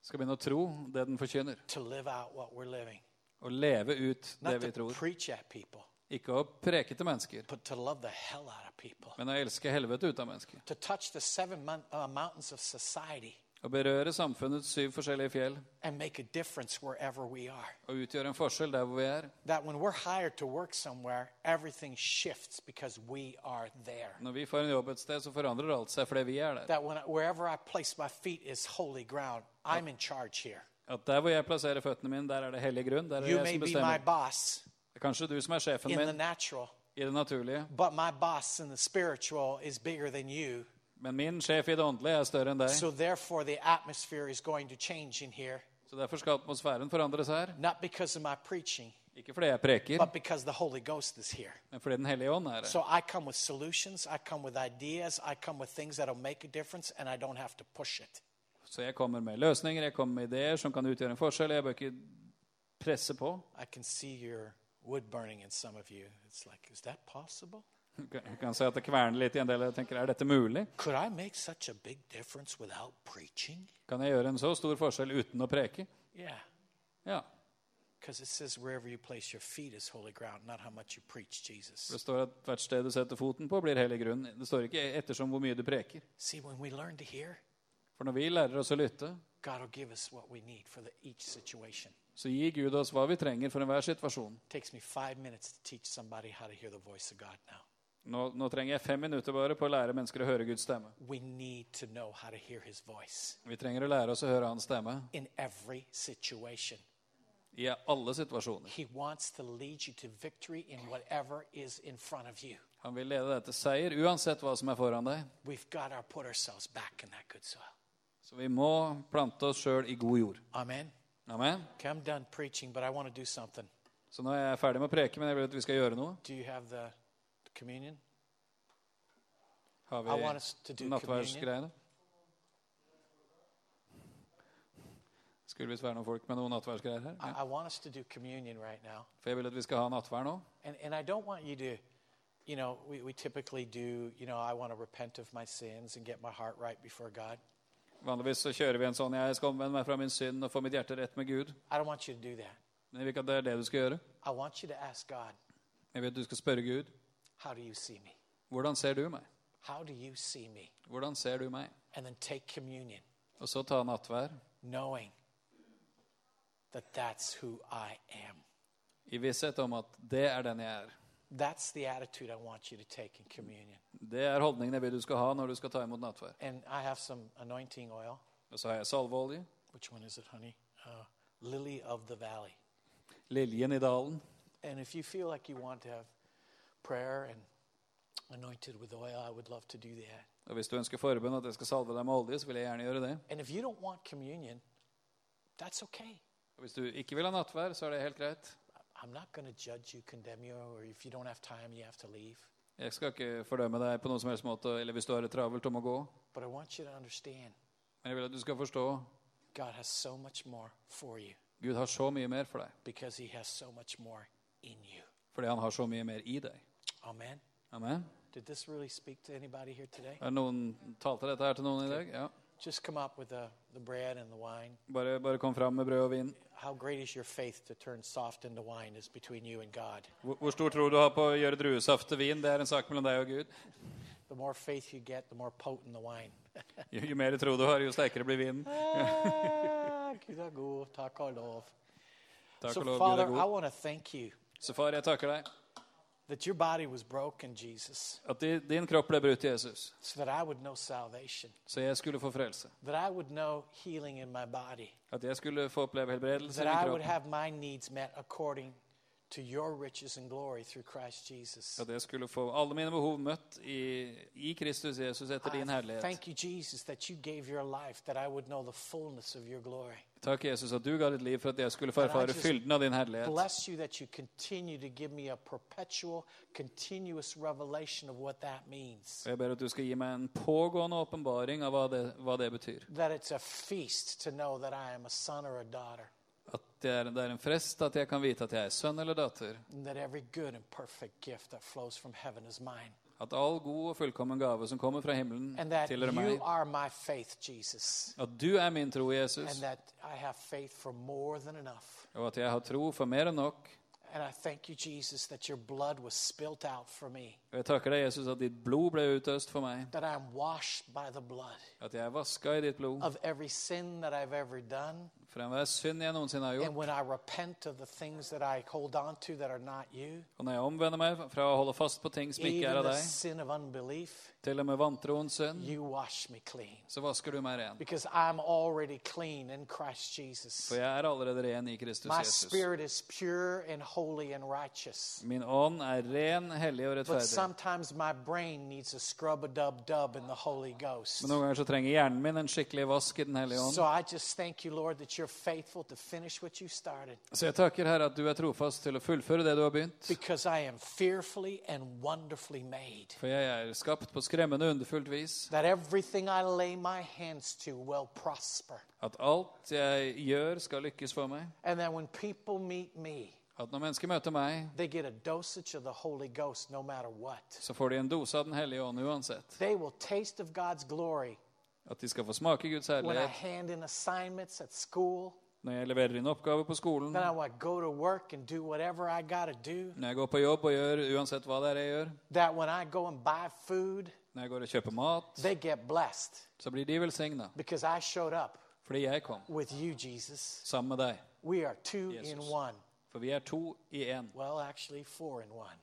S3: skal begynne å tro det den forkynner.
S4: to live out what we're living.
S3: Og leve ut det
S4: Not
S3: vi
S4: to
S3: tror.
S4: preach at people,
S3: Ikke å preke til mennesker,
S4: but to love the hell out of people.
S3: men å elske helvete ut av mennesker.
S4: To touch the seven mon- uh, mountains of society.
S3: Å berøre samfunnets syv forskjellige fjell
S4: and make a difference wherever we are.
S3: og utgjøre en forskjell der hvor vi er.
S4: That when we're hired to work somewhere, everything shifts because we are there.
S3: Når vi får en jobb et sted, så forandrer alt seg fordi vi er der.
S4: That when wherever I place my feet is holy ground. I'm in charge here.
S3: At der hvor jeg plasserer føttene mine, der er det hellig grunn. Der er det
S4: You
S3: jeg
S4: may
S3: som
S4: be my
S3: bestemmer.
S4: boss
S3: Det er kanskje du som er sjefen
S4: in the
S3: min
S4: natural,
S3: i det naturlige,
S4: but my boss in the spiritual is bigger than you.
S3: men min sjef i det åndelige er større enn deg.
S4: So therefore the atmosphere is going to change in here,
S3: Så derfor skal atmosfæren forandres her.
S4: not because of my preaching,
S3: Ikke fordi jeg preker,
S4: but because the Holy Ghost is here.
S3: men fordi Den hellige ånd er her.
S4: So I come with solutions, I come with ideas, I come with things that'll make a difference and I don't have to push it.
S3: Så jeg kommer med løsninger, jeg kommer med ideer som kan utgjøre en forskjell. Jeg bør ikke presse på.
S4: I can see your wood burning in some of you. It's like, is that possible?
S3: Jeg kan si at det kverner litt i en del. Jeg tenker, er dette mulig?
S4: Could I make such a big difference without preaching?
S3: Kan jeg gjøre en så stor forskjell uten å preke?
S4: Yeah,
S3: Ja.
S4: because it says wherever you place your feet is holy ground, not how much you preach Jesus.
S3: Det står at hvert sted du setter foten på, blir hellig grunn. Det står ikke ettersom hvor mye du preker.
S4: See, when we learn to hear,
S3: For når vi lærer oss å lytte,
S4: God will give us what we need for the, each situation.
S3: så gir Gud oss hva vi trenger for enhver situasjon.
S4: It takes me five minutes to teach somebody how to hear the voice of God now.
S3: Nå, nå trenger jeg fem minutter bare på å lære mennesker å høre Guds stemme.
S4: We need to know how to hear his voice
S3: Vi trenger å lære oss å høre Hans stemme
S4: in every situation.
S3: i alle situasjoner.
S4: He wants to lead you to victory in whatever is in front of you.
S3: Han vil lede deg til seier uansett hva som er foran deg.
S4: We've got to put ourselves back in that good soil.
S3: Så vi må plante oss sjøl i god jord.
S4: Amen.
S3: Amen.
S4: Okay, I'm done preaching, but I want to do something.
S3: Så nå er jeg ferdig med å preke, men jeg vil at vi skal gjøre noe.
S4: Do you have the communion?
S3: Har
S4: I want us to do
S3: vi nattverdsgreiene? Skulle visst være noen folk med noen nattverdsgreier her.
S4: I, I want us to do communion right now.
S3: For jeg vil at vi skal ha nattverd nå.
S4: And, and I don't want you to, you know, we, we typically do, you know, I want to repent of my sins and get my heart right before God.
S3: Vanligvis så kjører vi en sånn 'jeg skal omvende meg fra min synd og få mitt hjerte rett med Gud'.
S4: I don't want you to do that.
S3: Men jeg vil ikke at det er det du skal gjøre.
S4: I want you to ask God,
S3: Jeg vil at du skal spørre Gud
S4: how do you see me?
S3: 'Hvordan ser du meg?'
S4: How do you see me?
S3: Hvordan ser du meg?
S4: And then take communion,
S3: Og så ta nattverd
S4: knowing that that's who I am.
S3: i visshet om at 'det er den jeg er'.
S4: That's the attitude I want you to take in communion.
S3: Det er holdningen jeg vil du skal ha når du skal ta imot nattverd.
S4: And I have some anointing oil.
S3: Og så har jeg salveolje.
S4: Which one is it, honey? Uh, Lily of the Valley.
S3: Liljen i dalen.
S4: And if you feel like you want to have prayer and anointed with oil, I would love to do that.
S3: Og hvis du ønsker forbund at jeg skal salve deg med olje, så vil jeg gjerne gjøre det.
S4: And if you don't want communion, that's okay.
S3: Og hvis du ikke vil ha nattverd, så er det helt greit.
S4: I'm not going to judge you, condemn you, or if you don't have time, you have to leave.
S3: Jeg skal ikke fordømme deg på noen som helst måte, eller hvis du har det travelt om å gå.
S4: But I want you to understand
S3: Men jeg vil at du skal forstå
S4: God has so much more for you
S3: Gud har så mye mer for deg.
S4: because He has so much more in you.
S3: Fordi han har så mye mer i deg.
S4: Amen.
S3: Amen.
S4: Did this really speak to anybody here today?
S3: Er det noen Talte dette her til noen i dag? Ja.
S4: Just come up with the, the bread and the wine.
S3: Bare, bare kom fram med brød og vin.
S4: How great is your faith to turn soft into wine is between you and God.
S3: Hvor, hvor stor tror du har på å gjøre druesaft til vin? Det er en sak mellom deg og Gud.
S4: The more faith you get, the more potent the wine.
S3: Jo, jo mer tro du har, jo sterkere blir vinen.
S4: Ah, Gud er god. Takk og lov.
S3: Takk
S4: So,
S3: og lov, Gud
S4: Father,
S3: er
S4: I
S3: god.
S4: want to thank you
S3: Så far, jeg takker deg
S4: that your body was broken, Jesus,
S3: at di- din kropp ble brutt, Jesus,
S4: so that I would know salvation,
S3: så jeg skulle få frelse.
S4: that I would know healing in my body,
S3: At jeg skulle få oppleve helbredelse i
S4: that
S3: min
S4: I would
S3: kropp.
S4: have my needs met according to your riches and glory through Christ Jesus.
S3: At jeg skulle få alle mine behov møtt i, i Kristus Jesus etter din
S4: I
S3: herlighet.
S4: thank you, Jesus, that you gave your life, that I would know the fullness of your glory.
S3: Takk, Jesus, at du ga ditt liv for at jeg skulle få
S4: And I
S3: erfare
S4: just
S3: fylden av din herlighet.
S4: Bless you that you continue to give me a perpetual, continuous revelation of what that means.
S3: Og jeg ber at du skal gi meg en pågående åpenbaring av hva det, hva det betyr.
S4: That it's a feast to know that I am a son or a daughter,
S3: At det er, det er en frest at jeg kan vite at jeg er sønn eller datter.
S4: and that every good and perfect gift that flows from heaven is mine.
S3: At all god og fullkommen gave som kommer fra himmelen,
S4: And that
S3: tilhører
S4: you
S3: meg.
S4: are my faith, Jesus,
S3: At du er min tro, Jesus,
S4: and that I have faith for more than enough,
S3: og at jeg har tro for mer enn nok,
S4: And I thank you, Jesus, that your blood was spilt out for me,
S3: Og jeg takker deg, Jesus, at ditt blod ble utøst for meg.
S4: that I'm washed by the blood
S3: At jeg er vaska i ditt blod
S4: of every sin that I've ever done.
S3: fra enhver synd jeg noensinne har
S4: And
S3: gjort.
S4: when I repent of the things that I hold on to that are not you,
S3: Og når jeg omvender meg fra å holde fast på ting som ikke
S4: even
S3: er av
S4: the
S3: deg,
S4: sin of unbelief,
S3: til og med vantroens synd,
S4: you wash me clean.
S3: så vasker du meg ren.
S4: Because I'm already clean in Christ Jesus.
S3: For jeg er allerede ren i Kristus
S4: My
S3: Jesus.
S4: spirit is pure and holy and righteous.
S3: Min ånd er ren, hellig og
S4: But
S3: rettferdig.
S4: sometimes my brain needs a scrub a dub dub in the Holy Ghost.
S3: Men noen ganger så trenger hjernen min en skikkelig vask i Den hellige ånd.
S4: So I just thank you, Lord, that you're faithful to finish what you started.
S3: Så jeg takker Herre at du er trofast til å fullføre det du har begynt.
S4: Because I am fearfully and wonderfully made.
S3: For jeg er skapt på skremmende underfullt vis.
S4: That everything I lay my hands to will prosper.
S3: At alt jeg gjør, skal lykkes for meg.
S4: And that when people meet me,
S3: At når mennesker møter meg,
S4: they get a dosage of the Holy Ghost no matter what.
S3: så får de en dose av Den hellige ånd uansett.
S4: They will taste of God's glory
S3: At de skal få smake Guds
S4: when I
S3: herlighet
S4: hand in assignments at school,
S3: når jeg leverer inn oppgaver på skolen,
S4: then I want to go to work and do whatever I got to do.
S3: når jeg går på jobb og gjør uansett hva det er jeg gjør,
S4: That when I go and buy food,
S3: når jeg går og kjøper mat,
S4: they get blessed
S3: så blir de velsigna.
S4: because I showed up
S3: Fordi jeg kom
S4: with you, Jesus.
S3: sammen med deg.
S4: We are two
S3: Jesus.
S4: in one.
S3: For vi er to i én.
S4: Well, actually, four in one.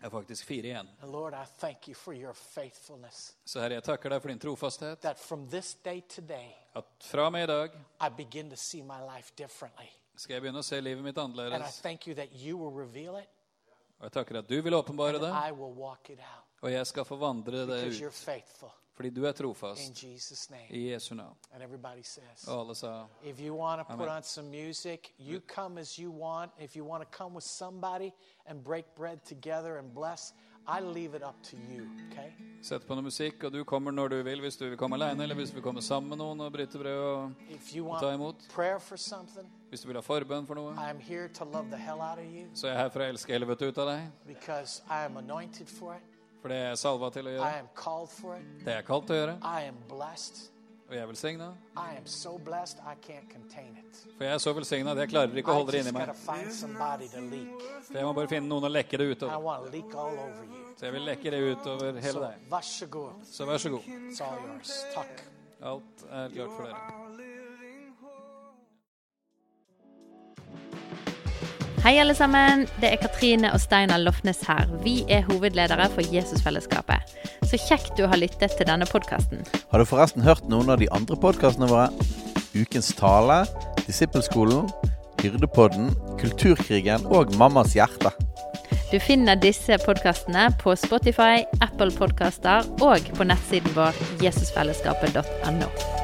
S3: Det er faktisk fire i én.
S4: And Lord, I thank you for your faithfulness.
S3: Så Herre, jeg takker deg for din trofasthet.
S4: That from this day today,
S3: At fra og med i dag
S4: I begin to see my life differently.
S3: skal jeg begynne å se livet mitt
S4: And I
S3: annerledes.
S4: thank you that you will reveal it
S3: Og jeg takker at du vil åpenbare
S4: and
S3: det,
S4: I will walk it out
S3: og jeg skal forvandle det
S4: because you're
S3: ut.
S4: faithful.
S3: Fordi du er
S4: In
S3: trofast.
S4: Jesus' name.
S3: I Jesu navn.
S4: And everybody says,
S3: Og alle sa
S4: If you want to put
S3: Amen.
S4: on some music, you come as you want. If you want to come with somebody and break bread together and bless, I leave it up to you, okay?
S3: Sett på noe musikk, og du kommer når du vil, hvis du vil komme alene, eller hvis du vil komme sammen med noen og bryte brød. Og
S4: If you
S3: ta
S4: want
S3: imot.
S4: prayer for something,
S3: Hvis du vil ha forbønn for noe,
S4: I'm here to love the hell out of you
S3: så er jeg her for å elske helvete ut av deg.
S4: because I am anointed for it.
S3: For det er jeg salva til å gjøre.
S4: I am called for it.
S3: Det er jeg kalt til å gjøre.
S4: I am blessed.
S3: Og jeg er velsigna.
S4: I am so blessed, I can't contain it.
S3: For jeg er så velsigna at jeg klarer ikke å
S4: I
S3: holde det inni
S4: just got
S3: meg.
S4: to find somebody to leak.
S3: Så jeg må bare finne noen å lekke det
S4: I
S3: utover.
S4: want to leak all over you.
S3: Så jeg vil lekke det utover hele
S4: So,
S3: deg.
S4: Vashagur,
S3: Så vær så god.
S4: it's all yours. Tuck.
S3: Alt er klart for dere.
S5: Hei alle sammen, det er Katrine og Steinar Lofnes her. Vi er hovedledere for Jesusfellesskapet. Så kjekt du har lyttet til denne podkasten.
S1: Har du forresten hørt noen av de andre podkastene våre? Ukens tale, Disippelskolen, Hyrdepodden, Kulturkrigen og Mammas hjerte.
S5: Du finner disse podkastene på Spotify, Apple Podkaster og på nettsiden vår jesusfellesskapet.no.